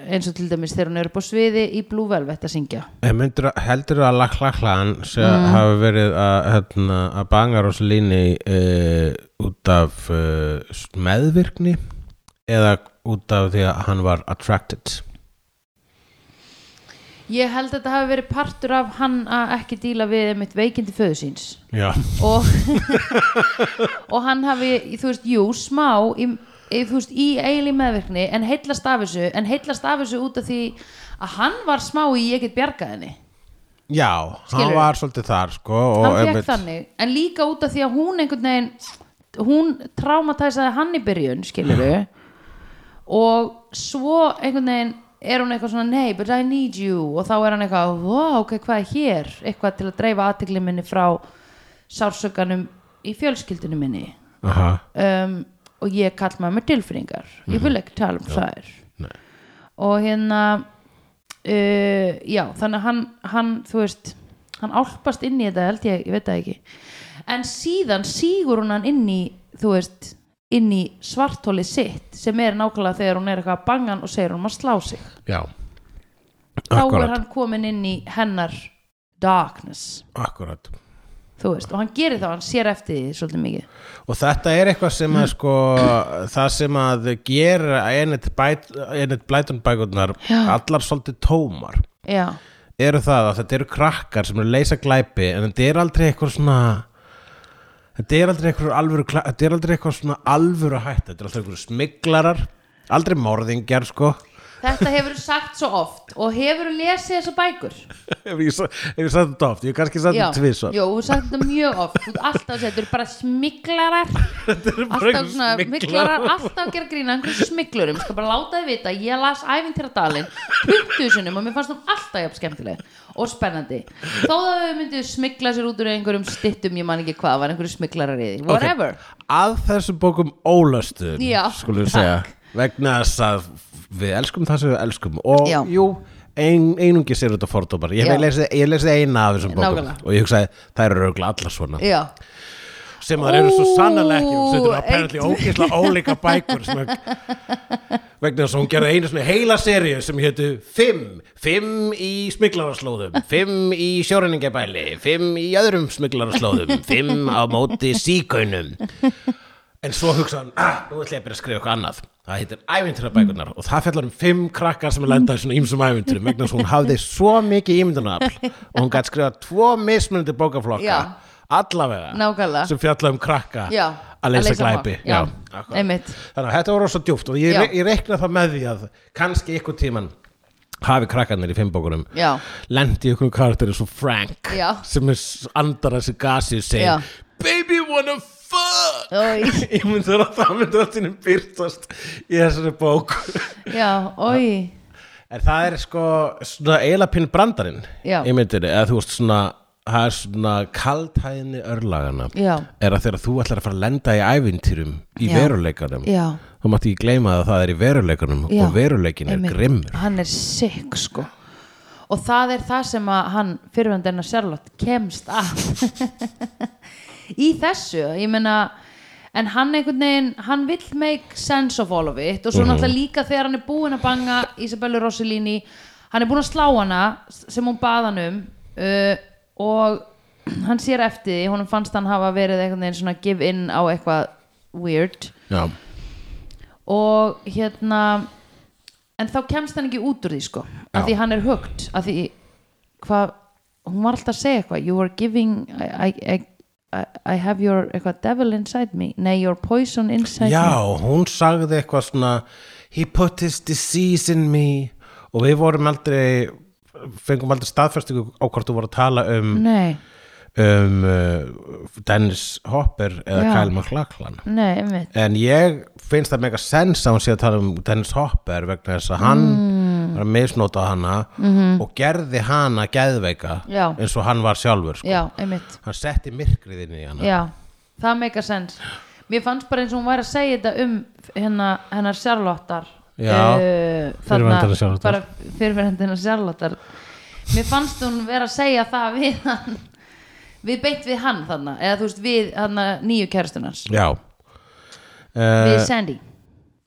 S2: eins og til dæmis þegar hún er upp á sviði í Blue Velvet að syngja
S1: en Eh, myndir, heldur að laklaklan sem mm. hafi verið að, hérna, að banga rosalíni uh, út af uh, meðvirkni eða út af því að hann var attracted
S2: Ég held að þetta hafi verið partur af hann að ekki díla við mitt veikindi föðu síns
S1: já,
S2: og, og hann hafi, þú veist, jú, smá í, í, þú veist, í eiginlega meðvirkni en heillast af þessu, en heillast af þessu út af því að hann var smá í ég get bjargað henni,
S1: já hann
S2: Skilurðu?
S1: var svolítið þar sko, og
S2: hann fekk
S1: einmitt-
S2: þannig en líka út af því að hún einhvern veginn hún traumatæsaði hann í byrjun skilurðu og svo einhvern veginn er hún eitthvað svona nei, but I need you og þá er hann eitthvað, wow, ok, hvað er hér eitthvað til að dreifa aðtegli minni frá sársökanum í fjölskyldinu minni
S1: Aha,
S2: um, og ég kall maður með tilfinningar ég vil ekki tala um þær
S1: Mhm. Nei.
S2: og hérna uh, já, þannig að hann, hann þú veist, hann álpast inn í þetta held ég, ég veit það ekki en síðan sígur hún hann inn í þú veist, inn í svartóli sitt sem er nákvæmlega þegar hún er eitthvað að banga hann og segir hún að slá sig
S1: já
S2: þá er
S1: akkurat,
S2: hann komin inn í hennar darkness,
S1: akkurat
S2: þú veist, og hann gerir þá hann sér eftir því svolítið mikið
S1: Og þetta er eitthvað sem
S2: Mm.
S1: að sko það sem að gera Enid Blyton bækurnar allar svolítið tómar
S2: já,
S1: eru það að þetta eru krakkar sem eru að leysa glæpi en þetta er aldrei eitthvað svona þetta er aldrei eitthvað alvöru glæ- þetta er aldrei eitthvað svona alvöru hætt þetta er aldrei eitthvað smiklarar aldrei morðingjar sko
S2: þetta hefur sagt svo oft og hefur lesið þessa bækur
S1: ef ég sa- ef ég sagði þetta oft, ég hef kannski sagði
S2: Já,
S1: þetta tvisvar
S2: Jó, þú sagði þetta mjög oft Þú ert alltaf að segja, þetta eru bara smiklarar
S1: eru bara
S2: Alltaf
S1: einhver
S2: svona
S1: smyglarar.
S2: smiklarar Alltaf að gera grína einhverjum smiklurum Skal bara láta þið vita, ég las æfintýradalinn 20 sinum og mér fannst hún alltaf jafn skemmtileg og spennandi Þó að þau myndu smikla sér út úr einhverjum stittum Ég man ekki hvað, var einhverjum smiklarar í því
S1: Ok,
S2: Whatever
S1: Að þessum bókum ólöstuðum
S2: Já,
S1: skulum við
S2: takk.
S1: segja vegna þess að við elskum það sem við elskum og
S2: Já.
S1: jú, ein, einungi sér þetta fordómar ég,
S2: Já.
S1: hef lesið, ég hef lesið eina af þessum bókum
S2: Nákvæmlega.
S1: og ég hugsaði það eru rauglega allar svona
S2: Já,
S1: sem það eru svo
S2: Ú,
S1: sannarlega ekki sem þetta eru apparently
S2: eitt-
S1: ógeðslega ólíka bækur sem að- vegna þess að hún gerði einu svona heila seríu sem hétu fimm, fimm í smiglararslóðum fimm í sjóræningebæli fimm í öðrum smiglararslóðum fimm á móti síkaunum en svo hugsa hann ah, nú ætla ég að byrja að skrifa eitthvað annað það heitir ævinturabækunar og það fjallar um fimm krakkar sem lenda í svona ímsum ævinturum vegna þess að hún hafði svo mikið ímyndunafl og hún gætt skrifa tvo mismunandi bókaflokka
S2: Já.
S1: allavega
S2: Nákvæmlega.
S1: sem fjallar um krakka
S2: Já,
S1: að leysa
S2: mál.
S1: glæpi
S2: Já,
S1: akkurat.
S2: einmitt
S1: þannig að þetta var rosa djúpt og ég,
S2: Já.
S1: ég reikna það með því að kannski ykkur tíman hafi krakkarnir í fimmbókunum
S2: Já.
S1: lendi ykkur karakterið svo Frank
S2: Já.
S1: sem er s- andar þessi gasi og
S2: Já.
S1: segir baby wanna fuck
S2: Oj.
S1: ég myndi vera að það myndi allt innum byrtast í þessari bók
S2: Já, oi
S1: en það er sko svona eiginlega pinn brandarinn
S2: Já.
S1: í myndinni eða þú veist svona það er svona kaldhæðinni örlagana
S2: Já.
S1: er að þegar þú ætlar að fara að lenda í ævintýrum í
S2: Já.
S1: veruleikanum
S2: Já.
S1: þá mátti ég gleyma að það er í veruleikanum
S2: Já,
S1: og veruleikin er
S2: einmitt.
S1: grimmur
S2: Hann er sick sko Og það er það sem að hann fyrirvend enna Charlotte kemst að Í þessu, ég meina En hann einhvern veginn, hann vill make sense of all of it
S1: Mhm.
S2: og svo náttúrulega líka þegar hann er búinn að banga Isabella Rossellini, hann er búinn að slá hana sem hún bað hann um uh, og hann sér eftir því, honum fannst hann hafa verið einhvern veginn svona give in á eitthvað weird
S1: Já.
S2: og hérna en þá kemst hann ekki út úr því sko
S1: Já.
S2: af því hann er hugt af því hvað, hún var alltaf að segja eitthvað you are giving I, I, I, I have your eitthvað devil inside me nei, your poison inside
S1: Já,
S2: me
S1: hún sagði eitthvað svona he put his disease in me og við vorum aldrei fengum aldrei staðfæstingu á hvort þú voru að tala um
S2: nei,
S1: um uh, Dennis Hopper eða
S2: Já.
S1: Kyle MacLachlan
S2: nei, einmitt
S1: en ég finnst það mega sens að hún sé að tala um Dennis Hopper vegna þess að hann
S2: Mm.
S1: var að misnóta hana -hmm. og gerði hana geðveika
S2: Mhm. Já.
S1: eins og hann var sjálfur sko.
S2: já, einmitt,
S1: hann setti myrkrið inn í hana
S2: já, það meika sens mér fannst bara eins og hún væri að segja þetta um hennar, hennar Charlottar
S1: Já,
S2: þarna,
S1: fyrirverandi hennar Charlottar.
S2: bara fyrirverandi hennar Charlottar mér fannst hún vera að segja það við hann við beint við hann þarna eða þú veist við þarna nýju kærastunars
S1: já.
S2: við
S1: Uh,
S2: Sandy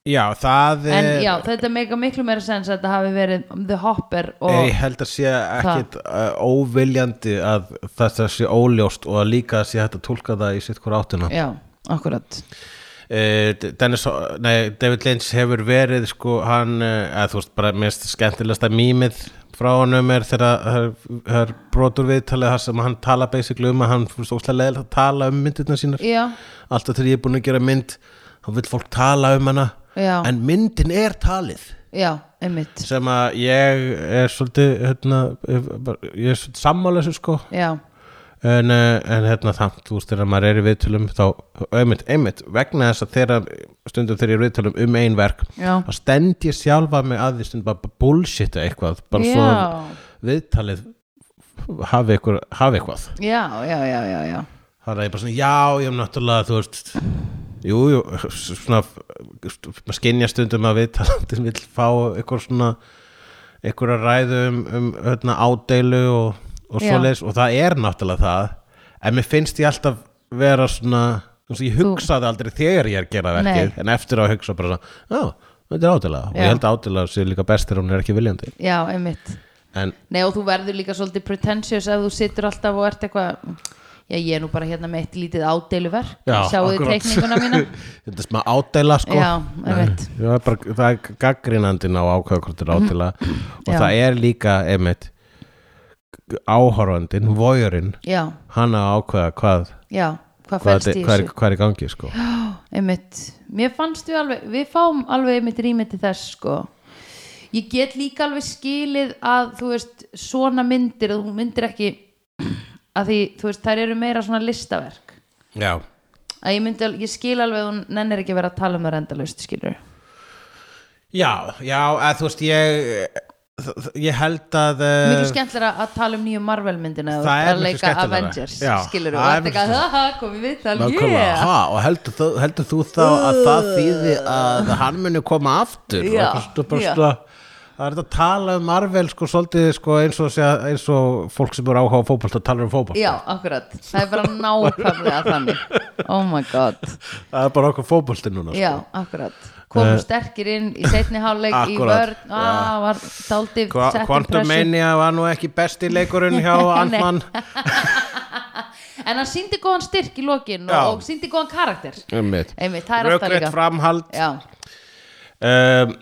S1: já það
S2: en
S1: er-
S2: já þetta meika miklu meira sens að þetta hafi verið The Hopper
S1: eh, ég
S2: og
S1: held að sé ekkit uh, óviljandi að þetta sé óljóst og að líka sé hægt að tólka það í sitt hvora áttuna
S2: já, akkurat
S1: Eh, Dennis, nei, David Lynch hefur verið sko hann, eh, eða þú veist bara mest skemmtilegasta mýmið frá honum er þegar það er- það er brotur viðtalið þar sem hann tala basically um að hann fyrir stókslega leðil að tala um myndirna sínar
S2: já,
S1: alltaf þegar ég er búin að gera mynd þá vill fólk tala um hana
S2: Já.
S1: en myndin er talið
S2: já, einmitt
S1: sem að ég er svolítið hérna, ég er svolítið sammála þessu sko
S2: já,
S1: en, eh, en hérna það, þú veist þegar maður er í viðtölum þá, einmitt, einmitt vegna þess að þegar, stundum þegar ég er í viðtölum um ein verk,
S2: Já.
S1: þá stend ég sjálfa mig að því stundum bara bullshit eitthvað, bara svo að
S2: já,
S1: viðtalið hafi, ykkur, hafi eitthvað
S2: já, já, já, já, já.
S1: það er ég bara svona, já, ég hef náttúrulega þú veist, jú, jú svona, maður skinja stundum að viðtalandi vill fá eitthvað svona eitthvað að ræðu um, um hérna, ádeilu og, og
S2: Já.
S1: svoleiðis og það er náttúrulega það en mér finnst ég alltaf vera svona þú veist, ég hugsaði aldrei þegar ég er að gera verkið
S2: Nei.
S1: en eftir á að hugsa bara svona, já, þetta er ádela og
S2: Já.
S1: ég held að ádela sé líka best þegar hún er ekki viljandi
S2: já einmitt
S1: en
S2: Nei og þú verður líka svolítið pretentious ef þú situr alltaf og ert eitthvað Já ég er nú bara hérna með eitt lítið ádeiluverk Sjáu þið
S1: akkurat.
S2: teikninguna mína
S1: Þetta er smá ádæla sko
S2: Já, einmitt.
S1: Nei, það er bara, það er gaggrinandin á ákveða hvort þetta er ádæla og
S2: Já.
S1: það er líka, einmitt áhorfandin, vojurinn
S2: Já,
S1: hann á að ákveða hvað
S2: já, hvað
S1: hvað,
S2: fælst
S1: þetta-
S2: í
S1: hvað, er,
S2: þessu
S1: hvað er í gangi sko
S2: einmitt, mér fannst við alveg við fáum alveg einmitt rými til þess sko ég get líka alveg skilið að þú veist svona myndir, þú myndir ekki að því, þú veist, þær eru meira svona listaverk
S1: Já,
S2: að ég myndi, al- ég skil alveg að hún nennir ekki að vera að tala um það rendalaust, skilur
S1: já, já að, þú veist ég eh, ég held að eh,
S2: miklu skemmtilega að tala um nýju Marvel myndina
S1: Það er
S2: að
S1: miklu
S2: leika
S1: skemmtilegra.
S2: Avengers
S1: Já,
S2: skilur
S1: það er
S2: og þetta
S1: miklu
S2: ekki að haha komið við tal
S1: Nákvæmlega,
S2: yeah
S1: ha, og heldur þú, heldur þú þá að það þýði að hann muni koma aftur
S2: Já,
S1: og það er bara
S2: já.
S1: svona það er þetta að tala um Marvel sko svolítið sko eins og, sé, eins og fólk sem eru áhuga á fótbolt og talar um fótbolt
S2: já, akkurat, það er bara nákvæmlega þannig oh my god
S1: það er bara okkur fótbolti núna sko.
S2: já, akkurat komu sterkir inn í setni hálfleik í
S1: Eh, Akkurat,
S2: vörn, ah, var daldið
S1: Hva,
S2: settum pressu
S1: Quantumania var nú ekki besti leikurinn hjá Antmann
S2: en hann síndi góðan styrk í lokin
S1: Já.
S2: og, og síndi góðan karakter
S1: einmitt
S2: einmitt, það er alltaf
S1: Rökrétt
S2: líka
S1: framhald
S2: já,
S1: um,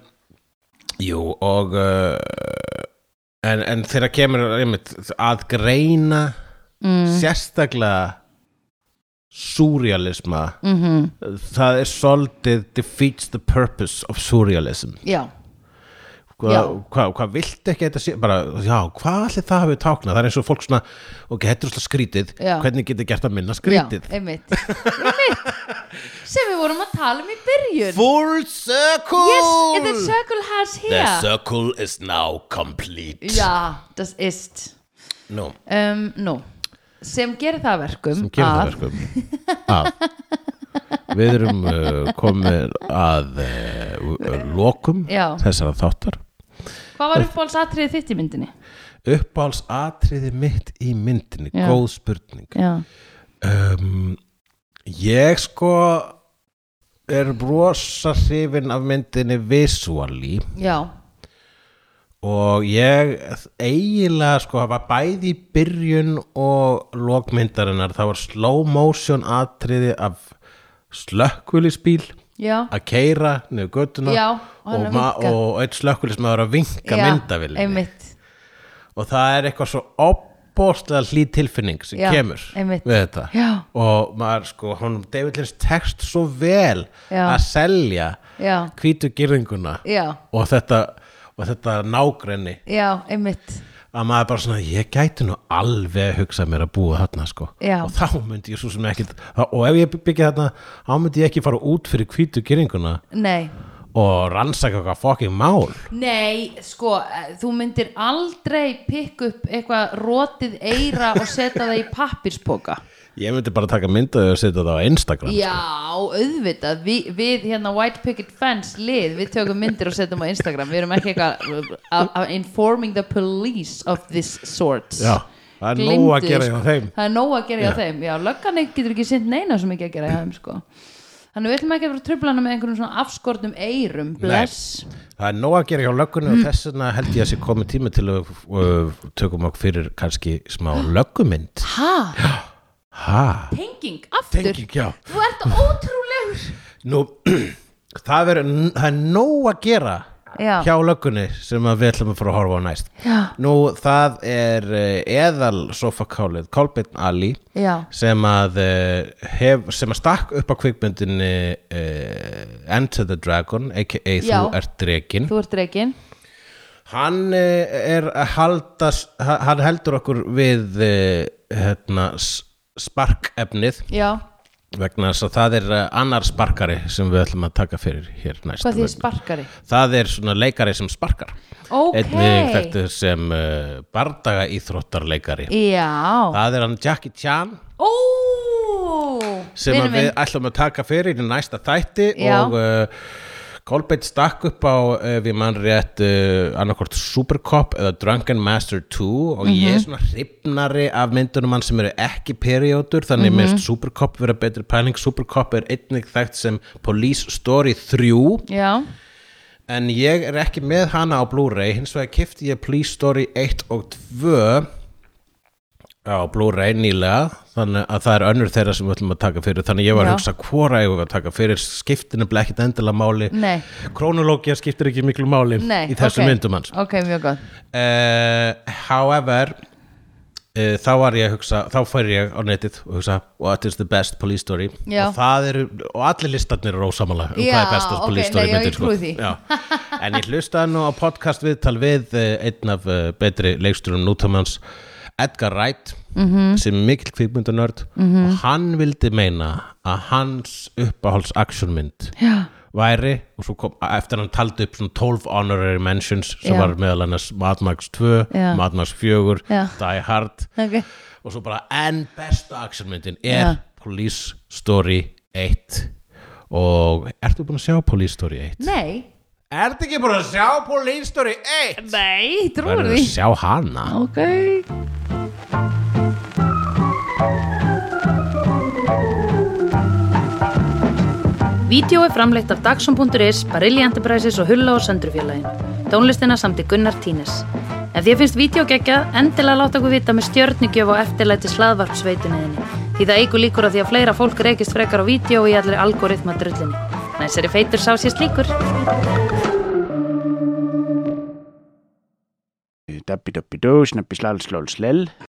S1: Jú og uh, en, en þegar kemur einmitt, að greina
S2: Mm.
S1: sérstaklega surrealisma
S2: mhm,
S1: það er svolítið defeats the purpose of surrealism
S2: já,
S1: Hva-
S2: Já.
S1: hvað hva viltu ekki að þetta sé bara, já, hvað allir það hafi táknað það er eins og fólk svona, ok, þetta er svona skrítið
S2: Já.
S1: hvernig getur gert að minna
S2: já
S1: skrítið
S2: einmitt, einmitt sem við vorum að tala um í byrjun
S1: Full circle
S2: yes, and the circle has
S1: The
S2: here
S1: circle is now complete
S2: já, das ist
S1: Nú,
S2: um, nú, sem gerir það að verkum
S1: sem kemur það
S2: að-
S1: verkum að við erum uh, komin að uh, lokum
S2: Já.
S1: þessara þáttar
S2: hvað var uppáhaldsatriðið þitt í myndinni?
S1: uppáhalds atriði mitt í myndinni
S2: Já.
S1: góð spurning
S2: já,
S1: um, ég sko er brosa hrifin af myndinni visually
S2: já,
S1: og ég eiginlega sko það var bæði í byrjun og lokmyndarinnar það var slow motion atriði af slökkulisbíl
S2: já
S1: að keira niður göttuna
S2: Já, og hann
S1: og,
S2: að
S1: ma-
S2: vinka.
S1: og einn slökkulismæður að vinka
S2: já,
S1: myndavillinni
S2: einmitt
S1: og það er eitthvað svo opbóstlega hlý tilfinning sem
S2: Já,
S1: kemur
S2: einmitt.
S1: við þetta
S2: Já.
S1: og maður sko, honum David Lynch tekst svo vel
S2: Já.
S1: að selja
S2: Já.
S1: hvítu gyrðinguna
S2: Já,
S1: og þetta, og þetta nágrenni
S2: já, einmitt
S1: að maður bara svona, ég gæti nú alveg hugsað mér að búa þarna sko
S2: Já.
S1: og þá myndi ég svo sem ekkit og ef ég byggja þarna, þá myndi ég ekki fara út fyrir hvítu geringuna
S2: Nei,
S1: og rannsaka eitthvað fokking mál
S2: nei, sko eh, þú myndir aldrei pikk upp eitthvað rotið eira og setja það í pappirspoka
S1: ég myndi bara taka myndaði og setja það á Instagram
S2: Já, auðvitað Vi, við hérna White Picket Fence lið við tökum myndir og setjum á Instagram við erum ekki eitthvað uh, uh, informing the police of this sort
S1: Já, það er nóg að
S2: Gleymdu
S1: gera
S2: því,
S1: hjá
S2: sko.
S1: þeim.
S2: Það er nóg að gera
S1: Já.
S2: hjá þeim, já, löggan ekki- getur ekki sint neina sem ekki að gera hjá þeim, sko Þannig við ætlum ekki að vera trublanum með einhverjum svona afskortum eirum, bless
S1: það er nóg að gera hjá löggunni og þess vegna held ég að sé komið tími til að uh, tökum okkur fyrir kannski smá löggumynd
S2: Ha?
S1: ha,
S2: tenging aftur
S1: tenging, já
S2: þú ert ótrúlegur
S1: Nú, það, er, það er nóg að gera
S2: Já.
S1: hjá löggunni sem að við ætlum að fara að horfa á næst
S2: já,
S1: Nú, það er eh, eðal sofakálið Kolbeinn Ali
S2: já,
S1: sem að, eh, hef, sem að stakk upp á kvikmyndinni uh, Enter the Dragon aka
S2: Já.
S1: þú ert dregin
S2: þú ert reygin
S1: Hann eh, er að halda hann heldur okkur við uh, hérna, s- sparkefnið
S2: já,
S1: vegna þess að það er eh, annar sparkari sem við ætlum að taka fyrir hér næst
S2: hvað því sparkari
S1: það er svona leikari sem sparkar
S2: ok,
S1: einnig þekktu sem uh, bardaga íþróttarleikari
S2: já
S1: það er hann Jackie Chan
S2: ó
S1: sem
S2: vinur
S1: að við
S2: minn.
S1: ætlum að taka fyrir í næsta þætti
S2: Já.
S1: og uh, Kolbeitt stakk upp á uh, við mann rétt uh, annarkort Supercop eða Drunken Master 2 og ég er
S2: Mhm.
S1: svona hrifnari af myndunum hann sem eru ekki periódur þannig
S2: Mhm.
S1: mm -hmm. mest Supercop vera betri pæling Supercop er einnig þekkt sem Police Story 3
S2: já,
S1: en ég er ekki með hana á Blu-ray hins vegar kifti ég Police Story 1 og 2 á Blu-ray nýlega þannig að það er önnur þeirra sem við ætlum að taka fyrir þannig að ég var
S2: Já.
S1: að hugsa hvora eigum við að taka fyrir skiptinu blekkit endilega máli
S2: Nei.
S1: krónulógia skiptir ekki miklu máli
S2: Mm. nei
S1: í þessum
S2: ok.
S1: myndum hans
S2: ok, mjög gott
S1: uh, however uh, þá var ég að hugsa þá fær ég á netið og hugsa what is the best police story
S2: Já.
S1: og, það eru, og allir listarnir eru ósamala um
S2: Já,
S1: hvað er bestast
S2: ok,
S1: police story
S2: nei, já,
S1: myndir, sko.
S2: ég trúi því.
S1: Já. en ég hlustaði nú á podcast viðtal við uh, einn af uh, betri leiksturum nútumans Edgar Wright
S2: Mhm.
S1: sem er mikill kvikmyndanörd og hann vildi meina að hans uppáhalds actionmynd
S2: já,
S1: væri og svo kom eftir hann taldi upp svona 12 honorary mentions sem
S2: Já.
S1: var meðal annars Mad Max 2,
S2: Já.
S1: Mad Max 4
S2: Já.
S1: Die Hard
S2: ok,
S1: og svo bara en besta actionmyndin er
S2: Já.
S1: Police Story 1 og ertu búin að sjá Police Story 1?
S2: nei
S1: Ertu ekki búin að sjá Police Story 1?
S2: nei, trúir
S1: Verður
S2: því
S1: að sjá hana
S2: ok,
S3: Vídeó er framleitt af Dagsum.is, Barilli Enterprises og Hulla og Söndrufjörlægin. Tónlistina samt í Gunnar Tínes. Ef þér finnst vídeo geggjað, endilega láta okkur vita með stjörnigjöf og eftirlæti slaðvarp sveituninni.
S2: Því það eigur líkur að því að fleira fólk reykist frekar á vídeo í allir algoritma drullinni. Næsari feitur sá sér slíkur.
S4: Dabbi dabbi dó, snabbi slal slól slel